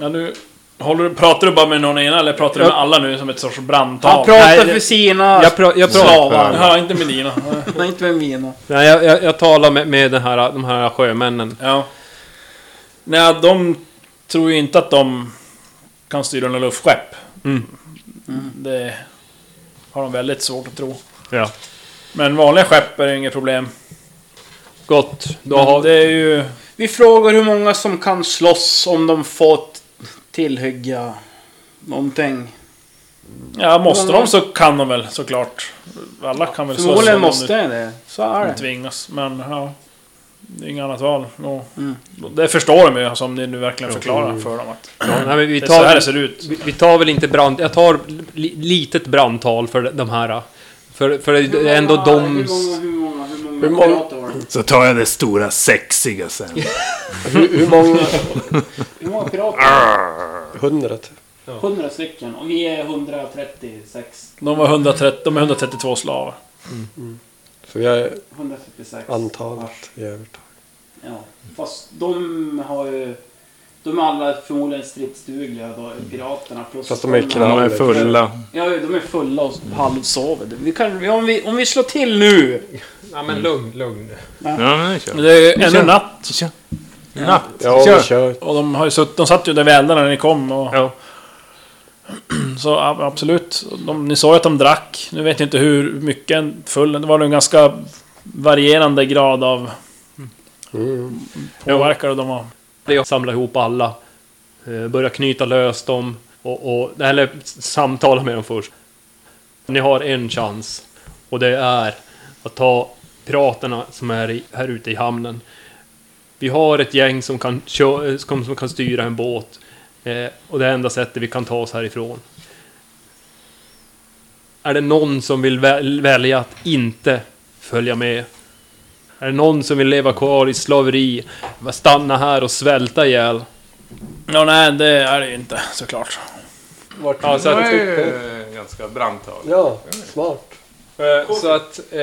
S3: Ja, nu håller, du- pratar du bara med någon ena eller pratar du med alla nu som ett sorts brandtal?
S5: Han pratar
S6: nej,
S5: för
S6: det-
S5: sina
S6: Jag, pra, jag, pra,
S5: slavar.
S3: Ja, inte med dina.
S5: Nej, inte med mina.
S6: nej, jag, jag, jag talar med, med den här, de här sjömännen.
S3: Ja. Nej, de tror ju inte att de kan styra några luftskepp.
S6: Mm.
S3: Mm. Det har de väldigt svårt att tro.
S6: Ja.
S3: Men vanliga skepp är det inget problem.
S6: Gott. Då
S3: Men
S6: har,
S3: Det är ju...
S5: Vi frågar hur många som kan slåss om de fått tillhygga någonting.
S3: Ja, måste
S5: många-
S3: de så kan de väl såklart. Alla kan väl slåss
S5: Förmodligen
S3: om de
S5: måste jag det. Så är
S3: nu
S5: det.
S3: tvingas. Men ja. Det är inget annat val. Nå.
S5: Mm.
S3: Det förstår de ju, som ni nu verkligen förklarar för dem. Att
S6: ja, nej, men vi
S3: det är så här
S6: tar,
S3: det ser ut.
S6: Vi, vi tar väl inte brand... Jag tar li, litet brandtal för de här. För, för det är ändå de...
S5: Hur många, hur många,
S7: Hur många-
S5: pirater var det?
S4: Så tar jag det stora sexiga sen.
S7: Hur, hur många?
S5: Hur många pirater var
S7: Hundra? typ.
S5: det? 100 stycken och vi är 136.
S3: De, var 130, de är 132 slavar.
S7: Så vi har
S5: 146.
S7: antalet i övertag.
S5: Ja. Fast de har ju... De är alla förmodligen stridsdugliga då, piraterna. Plus
S7: Fast de är knall-
S4: De är fulla.
S5: Ja, de är fulla och halvsover. Vi kan, om, vi, om vi slår till nu.
S6: Ja, men lugn, lugn.
S4: Ja, men det kör.
S3: Det är ju ännu natt.
S4: Natt.
S7: Ja,
S4: Kör.
S7: vi kör.
S3: Och de, har ju sutt, de satt ju där vid eldarna när ni kom. Och,
S6: Ja.
S3: Så ab- absolut. De, ni såg ju att de drack. Nu vet jag inte hur mycket en full. Det var nog en ganska varierande grad av påverkade de var.
S6: Det är att samla ihop alla. eh, Börja knyta lös dem. Och, och, eller samtala med dem först. Ni har en chans. Och det är att ta piraterna som är i, här ute i hamnen. Vi har ett gäng som kan, kö- som, som kan styra en båt. Eh, och det är enda sättet vi kan ta oss härifrån. Är det någon som vill väl- välja att inte följa med? Är det någon som vill leva kvar i slaveri? Stanna här och svälta ihjäl?
S3: Ja, nej, det är det ju inte såklart.
S6: Ja, så
S4: Det
S6: att,
S4: är ju ganska brant tag.
S7: Ja, smart.
S6: eh, så att eh,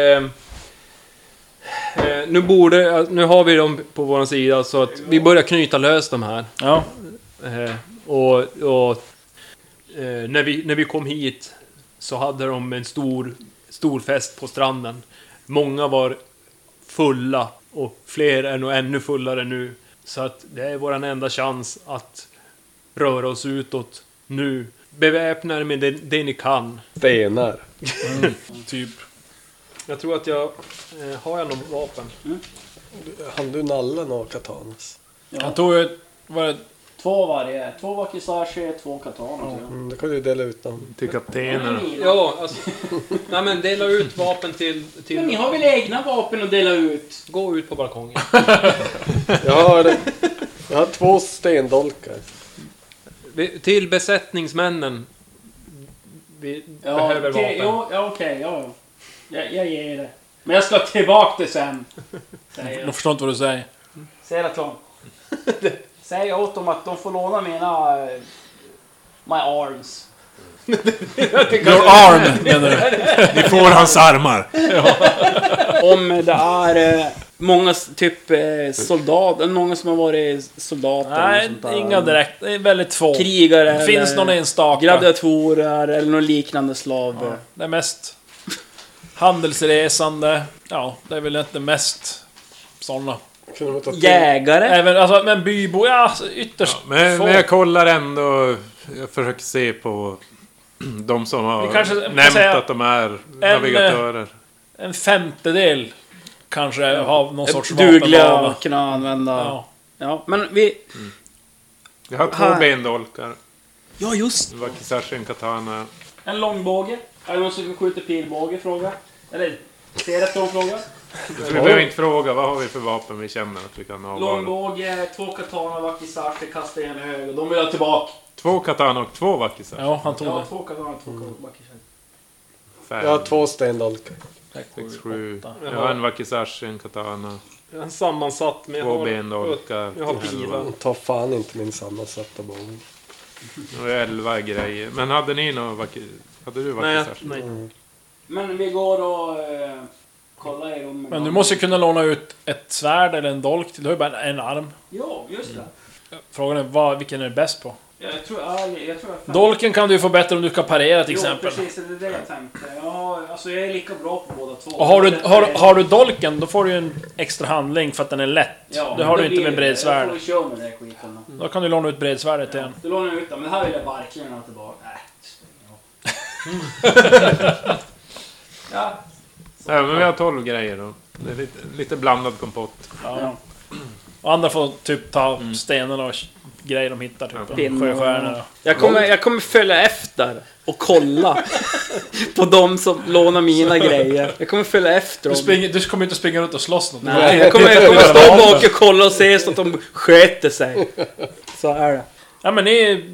S6: eh, nu borde, nu har vi dem på vår sida så att vi börjar knyta lös de här.
S3: Ja.
S6: Eh, och och eh, när, vi, när vi kom hit så hade de en stor, stor fest på stranden. Många var fulla och fler är nog ännu fullare nu. Så att det är vår enda chans att röra oss utåt nu. beväpna er med det, det ni kan.
S7: Stenar.
S3: Typ.
S6: Jag tror att jag... Eh, har jag något vapen?
S7: Hann du nallen av katanas?
S3: Han tog ju... Var det,
S5: Två varje. Två wakizashi, två katana. tror jag.
S7: Mm, då kan du dela ut den.
S4: Till kaptenerna.
S6: Ja, alltså... nej men dela ut vapen till...
S5: Men ni
S6: till
S5: har väl egna vapen att dela ut?
S6: gå ut på balkongen.
S7: Jag har, jag har två stendolkar.
S6: Vi, till besättningsmännen. Vi
S5: Ja,
S6: behöver
S5: till-
S6: vapen.
S5: Jo, ja, okej. ja, ja. Jag, jag ger er det. Men jag ska tillbaka det
S3: [laughs]
S5: sen. Säger
S3: de
S5: jag.
S3: förstår inte vad du säger.
S5: Säger att de... Säg åt dem att de får låna mina... eh, My arms.
S3: Your arm menar du?
S4: Ni får hans armar.
S5: Om det är eh, många s- typ eh, soldater, många som har varit soldater eller
S3: Nej,
S5: sånt där.
S3: inga direkt. Det är väldigt få.
S5: Krigare
S3: Det finns någon
S5: eller
S3: enstaka.
S5: Gladiatorer eller någon liknande slav.
S3: Ja, det är mest handelsresande. Ja, det är väl inte mest sådana.
S7: Kunde man ta till?
S5: Jägare.
S3: Även, alltså, men bybo, ja, alltså, ytterst
S4: Men,
S3: få.
S4: men jag kollar ändå. Jag försöker se på de som har
S3: Vi kanske ska
S4: nämnt
S3: säga
S4: att de är navigatörer.
S3: En femtedel kanske har någon sorts
S5: Dugliga
S3: vapenvana.
S5: att kunna använda. Ja.
S3: Ja.
S5: men vi...
S4: Jag har två
S5: här.
S4: bendolkar.
S5: Ja, just
S4: En wakizashi, en katana.
S5: En långbåge. Är det någon som skjuter pilbåge? Fråga. Eller, ser att de frågar.
S4: Vi behöver inte fråga vad har vi för vapen vi känner att vi kan ha.
S5: Långbåge, två katana, wakizashi, kasta en i höger. De vill ha tillbaka.
S4: Två katana och två wakizashi.
S3: ja, han tog
S5: Ja,
S3: det.
S5: två katana, två wakizashi.
S4: Fem,
S7: Jag har två stendolkar.
S4: sex, sju. Jag har en wakizashi, en katana.
S6: Jag har en sammansatt men jag
S4: Två
S6: har...
S4: bendolkar.
S6: Jag har
S4: elva.
S6: pilar.
S7: Ta fan inte min sammansatta bomb.
S4: Och elva grejer. Men hade ni någon wakizashi? Hade du
S6: Nej, jag-
S4: wakizashi?
S6: nej.
S5: Men vi går och eh, kollar i rummen.
S3: Men du måste ju kunna låna ut ett svärd eller en dolk till. Du har ju bara en arm.
S5: Ja, just det.
S3: Frågan är vad, vilken är du bäst på?
S5: Ja, jag tror ärlig, jag tror jag...
S3: Dolken kan du ju få bättre om du kan parera till exempel.
S5: Jo, precis. Det är det jag tänkte. Jag, har, alltså, jag är lika bra på båda två.
S3: Och har du, har, har du dolken, då får du ju en extra handling för att den är lätt. det har
S5: men
S3: du inte med
S5: blir-
S3: bredsvärd. Mm.
S5: Jag får köra med den här skiten då.
S3: Då kan du låna ut bredsvärdet till en.
S5: Då lånar jag ut den, men det här vill jag verkligen ha tillbaka. Nej.
S3: [laughs]
S5: ja.
S4: Nej, men vi har tolv grejer då. Det är lite, lite blandad kompott.
S5: ja.
S3: Och andra får typ ta stenarna och grejer de hittar. Typ.
S5: Ja.
S3: Sjöstjärnor.
S5: Jag, kommer, jag kommer följa efter och kolla [laughs] på de som lånar mina grejer. Jag kommer följa efter
S3: Du,
S5: dem.
S3: springer, du kommer inte springa runt och slåss något.
S5: Nej, jag kommer, jag kommer stå bak och kolla och se så att de sköter sig. Så är det.
S3: Ja men ni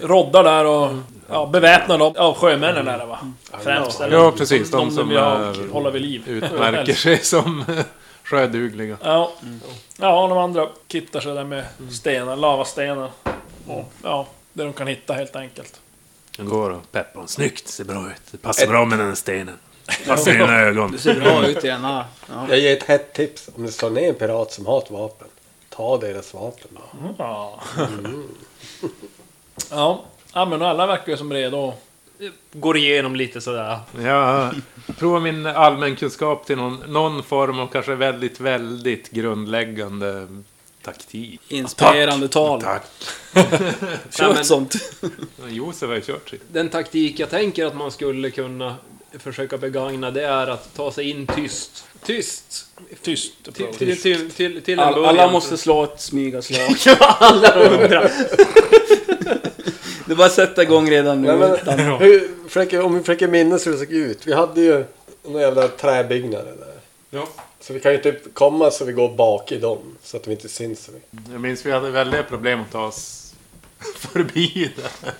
S3: roddar där och ja, beväpnar dem. Ja, sjömännen är det va? Främst. eller?
S4: Ja, precis. De,
S3: de
S4: som
S3: vill ha-
S4: är-
S3: hålla vid liv.
S4: utmärker sig som [laughs] sjödugliga.
S3: Ja. ja, och de andra kittar sig där med stenar, lavastenar. Och, ja, det de kan hitta helt enkelt.
S4: Den går och peppar hon. Snyggt, ser bra ut. Det passar bra med den här stenen. Passar i dina ögon.
S5: Ser bra ut i den här. Ja.
S7: Jag ger ett hett tips. Om det slår ner en pirat som har ett vapen, ta deras vapen. Då.
S3: Ja. [laughs] ja. ja, men alla verkar ju som redo.
S6: Går igenom lite sådär.
S4: Jag provar min allmänkunskap till någon, någon form av kanske väldigt, väldigt grundläggande taktik.
S5: Inspirerande tal.
S4: Tack.
S6: Nej,
S5: Kör
S6: men-
S5: ett sånt.
S4: Josef har ju kört sitt.
S6: Den taktik jag tänker att man skulle kunna försöka begagna det är att ta sig in tyst. Tyst!
S3: Tyst.
S6: Till, till, till, till, till en
S5: Alla,
S6: början.
S5: alla måste slå ett [laughs] smygaslag. alla hundra. Det är bara att sätta igång redan nu.
S7: Nej, men, hur, försöker, om vi försöker minnas hur det såg ut. Vi hade ju några jävla träbyggnader där.
S6: Ja.
S7: Så vi kan ju inte komma så vi går bak i dem. Så att vi inte syns. Så mycket.
S4: Jag minns vi hade väldiga problem att ta oss förbi där.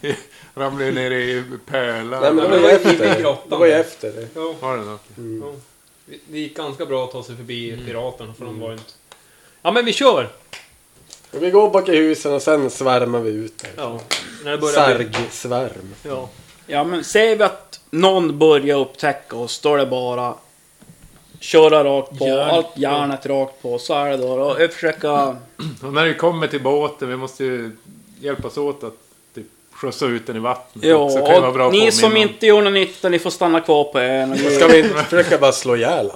S4: Vi ramlade ju ner i pölar.
S7: Nej, men det var
S6: men
S7: ju
S6: vi- vi
S7: efter.
S6: grottan.
S7: Det var ju efter det.
S6: Ja.
S4: Har du något?
S6: Det gick ganska bra att ta sig förbi piraterna för de var ju inte... Ja men vi kör!
S7: Vi går bak i husen och sen svärmar vi ut där.
S6: Ja. När det börjar... bli-
S7: Sargsvärm.
S6: Ja.
S5: Ja, men säger vi att någon börjar upptäcka oss, då är det bara köra rakt på,
S3: Järn.
S5: allt järnet rakt på, så är det då. Och försöka...
S4: Och när vi kommer till båten, vi måste ju hjälpas åt att typ, skjutsa ut den i vattnet.
S5: Ja,
S4: också. Det kan ju vara bra
S5: och ni
S4: påminnan.
S5: som inte gör någon nytta, ni får stanna kvar på ön. Och vi-
S7: Ska vi inte försöka bara slå ihjäl alla?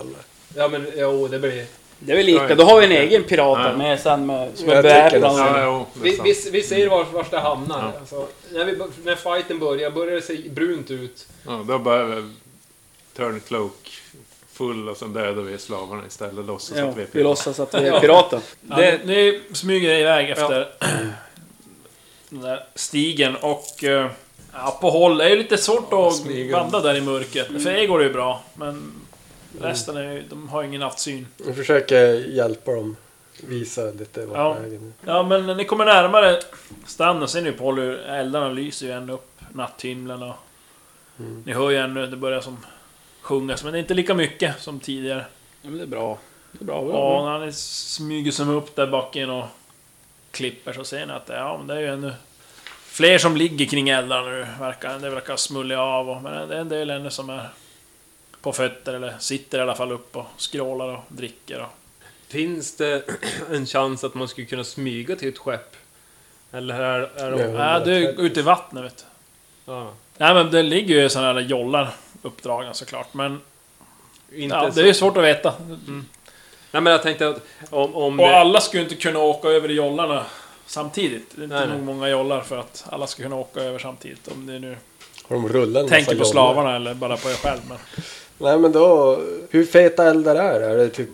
S6: Ja men jo, det blir...
S5: Det är väl lika. Då har vi en egen pirat med sen med, som är
S7: Jag tycker
S5: beväpnad.
S7: det.
S4: Ja, jo, det är
S6: Vi,
S4: sant.
S6: vi, vi ser vars, vars det hamnar. Alltså, när, vi, bör- när fighten börjar, börjar det se brunt ut.
S4: Ja, då börjar Turncloak full och sen dödar vi slavarna istället. Låtsas
S5: Ja,
S4: att vi är
S5: vi
S4: pirater.
S5: låtsas att vi är piraten.
S3: Det, ni smyger iväg efter [clears throat] den där stigen och... eh, Ja, på håll. Det är ju lite svårt att vandra där i mörkret. För er går det ju bra, men... Resten är ju, de har ju ingen nattsyn.
S7: Vi försöker hjälpa dem. Visa lite vart
S3: Ja.
S7: vägen är.
S3: Ja, men när ni kommer närmare stranden ser ni på håll hur eldarna lyser ju ännu upp natthimlen och...
S5: Mm.
S3: Ni hör ju ännu, det börjar som sjungas, men det är inte lika mycket som tidigare.
S5: Ja, men det är bra. Det är bra. bra,
S3: Ja,
S5: bra.
S3: när ni smyger som upp där baken och klipper så ser ni att ja, men det är ju ännu fler som ligger kring eldarna nu. Verkar, det verkar smulla av och, men det är en del ännu som är på fötter eller sitter i alla fall upp och skrålar och dricker. Och,
S6: Finns det [clears throat] en chans att man skulle kunna smyga till ett skepp? Eller är, är de...
S7: Ja.
S3: nej, du är ute i vattnet vet du.
S6: Ja.
S3: Nej men det ligger ju sådana här jollar uppdragna såklart men
S6: Inte
S3: ja,
S6: så. Mm.
S3: det är ju svårt att veta.
S6: Nej, men jag tänkte att om... om
S3: Och alla skulle inte kunna åka över i jollarna samtidigt. Det är inte
S6: Nej, nej.
S3: nog många jollar för att alla ska kunna åka över samtidigt om det nu
S7: Har de rullat en massa
S3: Tänker på
S7: jollor?
S3: slavarna eller bara på er själv. Men...
S7: Nej men då, hur feta eldar är det? Är det typ...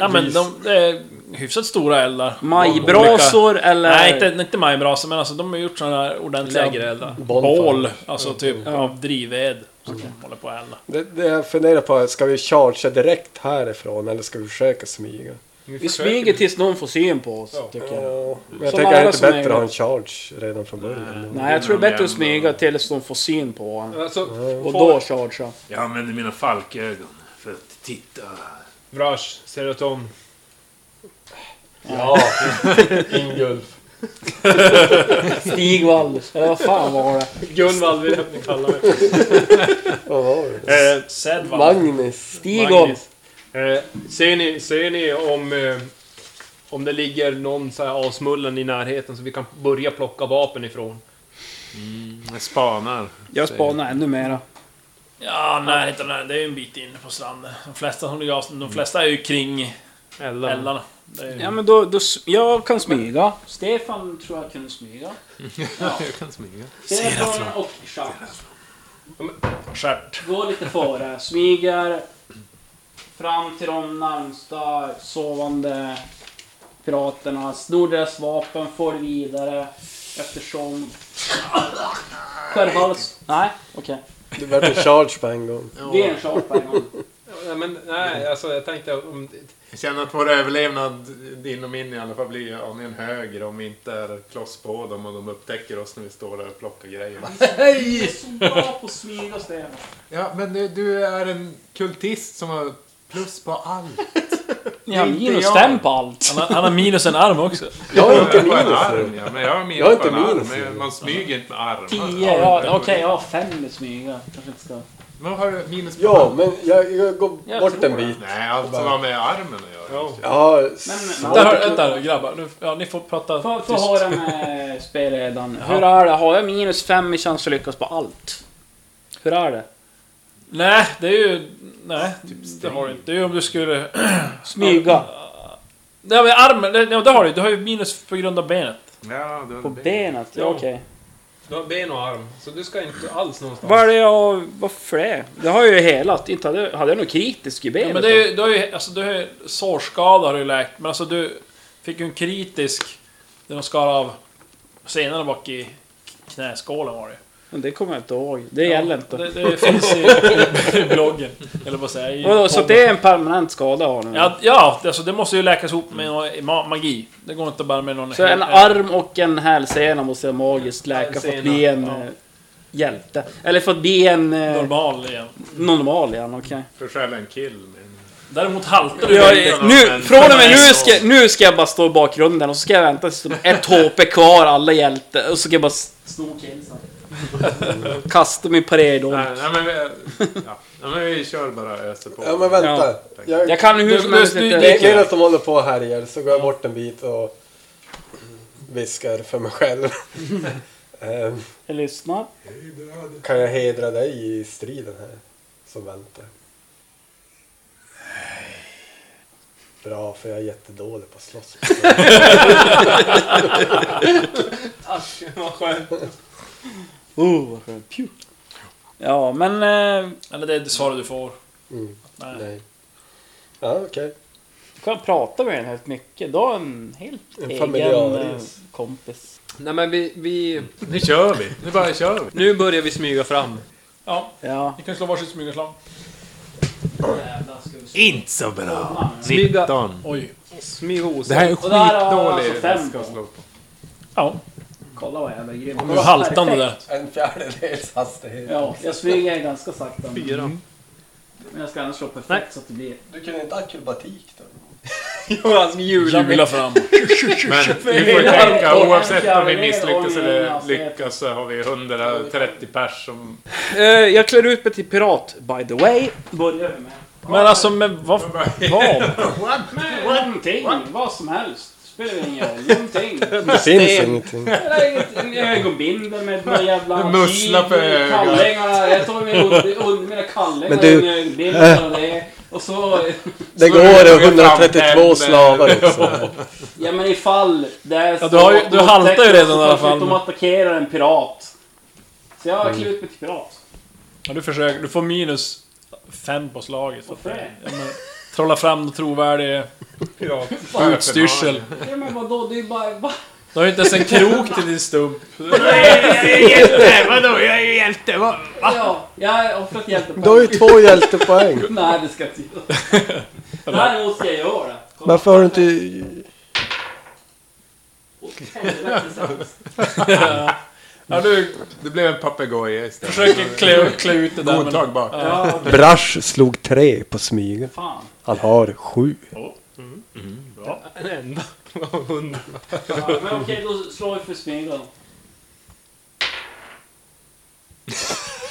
S3: Ja, men de, det är hyfsat stora eldar.
S5: Majbrasor eller?
S3: Nej, inte, inte majbrasor, men alltså, de har gjort sådana här ordentliga
S6: Lägre eldar.
S7: Bonfire.
S3: bål. Alltså typ av drivved som håller på att elda.
S7: Det, det jag funderar på är, ska vi chargea direkt härifrån eller ska vi försöka smyga?
S5: Vi smyger tills någon får syn på oss, tycker jag.
S7: Ja, men jag
S5: Som
S7: tänker är det
S5: alla
S7: inte
S5: som är
S7: bättre att ha en
S5: igång.
S7: charge redan från början?
S5: Nej, jag tror det är bättre att smyga tills de får syn på honom.
S6: Alltså,
S5: Och då chargea.
S4: Jag använder mina falkögon för att titta.
S6: Vrash, Seraton.
S7: Ja, Ingulf.
S5: Stigvall, eller vad fan var det?
S6: Gunvald vill jag att ni kallar mig.
S7: Vad var det?
S6: Eh,
S3: Sedvan.
S7: Magnus.
S5: Stigov!
S6: Eh, ser, ni, ser ni om, eh, om det ligger någon så här asmullen i närheten så vi kan börja plocka vapen ifrån?
S4: Jag spanar.
S5: Jag spanar ännu mera.
S3: Ja, nej, inte den här. det är ju en bit in på stranden. De flesta, som ligger av- de flesta är ju kring
S6: Eller?
S3: eldarna. Det är ju...
S5: Ja men då, då s- jag kan smyga. Stefan tror jag kunde smyga.
S4: [laughs] Jag kan smyga.
S5: Stefan och Jacques
S3: Stjärt.
S5: går lite före, smyger fram till de närmsta sovande piraterna, snor deras vapen, får vidare eftersom... Skärhals... Nej, okej.
S7: Det vart en charge på en gång.
S5: Det är en shot på en
S3: [laughs]
S5: gång.
S6: Ja, men, nej, alltså jag tänkte om...
S4: Jag känner att vår överlevnad, din och min i alla fall, blir ju aningen högre om vi inte är kloss på dem och de upptäcker oss när vi står där och plockar
S6: [laughs]
S4: grejer.
S5: Du är så bra på att smyga Stefan.
S4: Ja, men du, du är en kultist som har plus på allt.
S5: Ni har
S4: Inte
S5: minus
S4: jag.
S5: fem på [laughs] allt.
S3: Han, har- han har minus en arm också.
S7: Jag har inte
S4: på en
S7: minus.
S4: arm, ja, men jag har minus
S7: Jag har inte
S4: på en arm.
S7: minus.
S4: men Man smyger inte med armar.
S5: Tio, ja, okej jag har fem i smyga. Kanske inte ska...
S4: Men har du minus på
S7: Ja,
S4: armen?
S7: men jag, jag går
S5: Jag
S7: bort en
S5: tror
S7: bit.
S4: Nej, allt som har med armen att göra.
S7: Ja,
S5: Men,
S3: Där,
S5: men,
S3: hör- vänta nu, grabbar. Nu, ja, ni får prata
S5: Få, få
S3: tyst.
S5: höra med spelledaren. Hur är det? Har jag minus fem i chans att lyckas på allt? Hur är det?
S3: Nej, det är ju... Nej, typ- det har du inte. Det är ju om du skulle...
S5: Smyga.
S3: Nej men armen, det, ja, det har du Du har ju minus på grund av benet.
S4: Ja, du har
S5: På
S4: ben.
S5: benet? Ja, okej.
S6: Du har ben och arm, så du ska inte alls någonstans.
S5: Vad är det jag... Varför det? Det har jag ju helat. Inte hade, hade jag något kritiskt i benet?
S3: Ja, men det är, ju- du har ju, alltså du har ju, sårskada har du ju läkt, men alltså du fick ju en kritisk, där de skar av senare bak i knäskålen var det ju.
S5: Men det kommer jag inte ihåg. Det gäller inte.
S3: Det, det finns i, i bloggen, eller vad säger jag? i
S5: Vadå, så
S3: podden.
S5: det är en permanent skada jag har nu?
S3: Ja, ja alltså, det måste ju läkas ihop med någon ma- magi. Det går inte bara med någon...
S5: Så en arm och en hälsena måste jag magiskt läka för att bli en
S3: Hälsena, ja.
S5: eh, hjälte. Eller för att bli en eh,
S3: Normal igen.
S5: normal igen, okej.
S4: För att stjäla en kill. Men...
S3: Däremot haltar du
S5: Jag,
S3: lite.
S5: nu, från och med nu ska, nu ska jag bara stå i bakgrunden och så ska jag vänta tills de är ett HP kvar alla hjälte och så ska jag bara... Sno
S3: [laughs]
S5: Kasta mig på redo.
S4: Nej, nej, men vi, ja. nej, men vi kör bara öser på.
S7: ja, men vänta. Jag,
S5: Jag kan ju hur som
S3: Du-
S5: helst
S3: du-
S5: inte...
S3: du-
S7: me- medan de håller på och härjar så går jag bort en bit och viskar för mig
S5: [laughs]
S7: själv. Ehm,
S5: Jag lyssnar.
S7: kan jag hedra dig i striden här som väntar? Bra, för jag är jättedålig på att slåss. [laughs]
S5: Vad skönt. Oh, vad skönt. Pew. Ja, men... Eh,
S3: Eller det är det svaret du får.
S7: Mm.
S3: Nej.
S7: Nej. Ja, okej.
S5: kan prata med den helt mycket. Du har en helt egen
S7: En
S5: eh,
S7: familjaris.
S5: kompis.
S6: Nej men vi, vi...
S4: Nu kör vi. Nu bara kör vi.
S6: Nu börjar vi smyga fram.
S3: Ja,
S5: Ja.
S3: ni kan slå varsitt smygeslag.
S4: Inte så bra.
S6: Smyga,
S4: Dan.
S3: Oj.
S6: smyga
S4: Det här är
S6: osäkert.
S5: Och där har jag
S4: skitdålig.
S5: alltså fem
S4: ska
S5: på.
S4: slå på.
S3: Ja.
S5: Kolla vad jävla grym.
S3: Det var haltande där.
S7: eh, En fjärdedels hastighet.
S5: Ja, jag smyger ganska sakta. Men
S6: Fyra.
S5: jag ska annars slå perfekt
S6: Nej.
S5: så att det blir...
S7: Du kunde inte akrobatik då?
S3: Jula fram.
S4: Men vi får tänka oavsett om vi misslyckas eller lyckas så har vi 130 pers som...
S6: Eh, jag klär ut mig till pirat.
S5: By the way... Börjar vi med.
S3: Men alltså, men vad... vad?
S5: Någonting, vad som helst. Spelar ingen roll. Någonting.
S7: Det finns ingenting.
S5: Eller inget- en ögonbindel med några jävla...
S4: Mussla på
S5: kivor,
S4: ögat.
S5: Kallingar. Jag tog min under, under mina kallingar.
S7: Men du-
S5: en ögonbindel och det. Och så...
S7: Det går 132 slavar också.
S5: Ja men ifall det är så
S3: du har ju-
S5: att
S3: du
S5: de
S3: haltar ju
S5: upptäcker
S3: redan
S5: oss
S3: i
S5: och
S3: alla
S5: plötsligt
S3: fall. Mm.
S5: De attackerar en pirat. Så jag har klivit ut mig till pirat.
S3: Ja, du försöker. Du får minus fem på slaget. så att
S5: Varför det?
S3: det- ja, men, Trolla fram någon trovärdig utstyrsel.
S5: Ja men vadå, det är ju bara... Va?
S3: Du har ju inte ens en krok till din stump.
S4: Vadå, jag är ju hjälte! Va?
S5: Ja, jag har fått hjälp
S7: Du har ju två hjältepoäng.
S5: Nej det ska jag inte
S3: [laughs]
S5: göra. Däremot ska jag göra det. Kolla.
S7: Varför har du inte...
S4: Ja, du, det blev en papegoja istället.
S3: Försöker klä, klä ut det där. Men,
S4: Godtagbart.
S5: Ja,
S7: Brash slog tre på smygen.
S5: fan.
S7: Han har sju.
S6: En enda.
S5: Ja, men okej, då slår vi för smygen.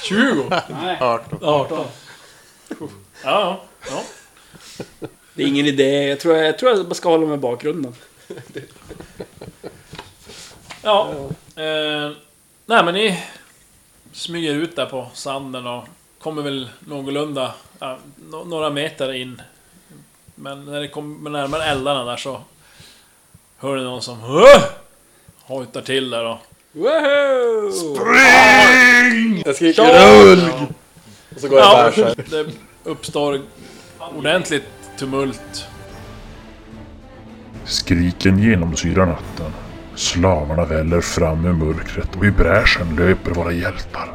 S3: 20?
S5: Nej.
S4: 18.
S3: 18. Ja, ja.
S5: Det är ingen idé. Jag tror jag, jag, tror jag bara ska hålla mig i bakgrunden.
S3: Ja. Eh, nej men ni smyger ut där på sanden och kommer väl någorlunda, ja, nå- några meter in. Men när ni kommer närmare eldarna där så hör ni någon som "Åh!" hojtar till där och
S7: Jag skriker RULG! Och så går jag
S3: ja,
S7: bärsärk.
S3: det uppstår ordentligt tumult.
S1: Skriken genomsyrar natten. Slavarna väller fram ur mörkret och i bräschen löper våra hjältar.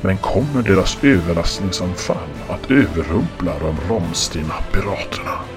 S1: Men kommer deras överraskningsanfall att överrumpla de romstina piraterna?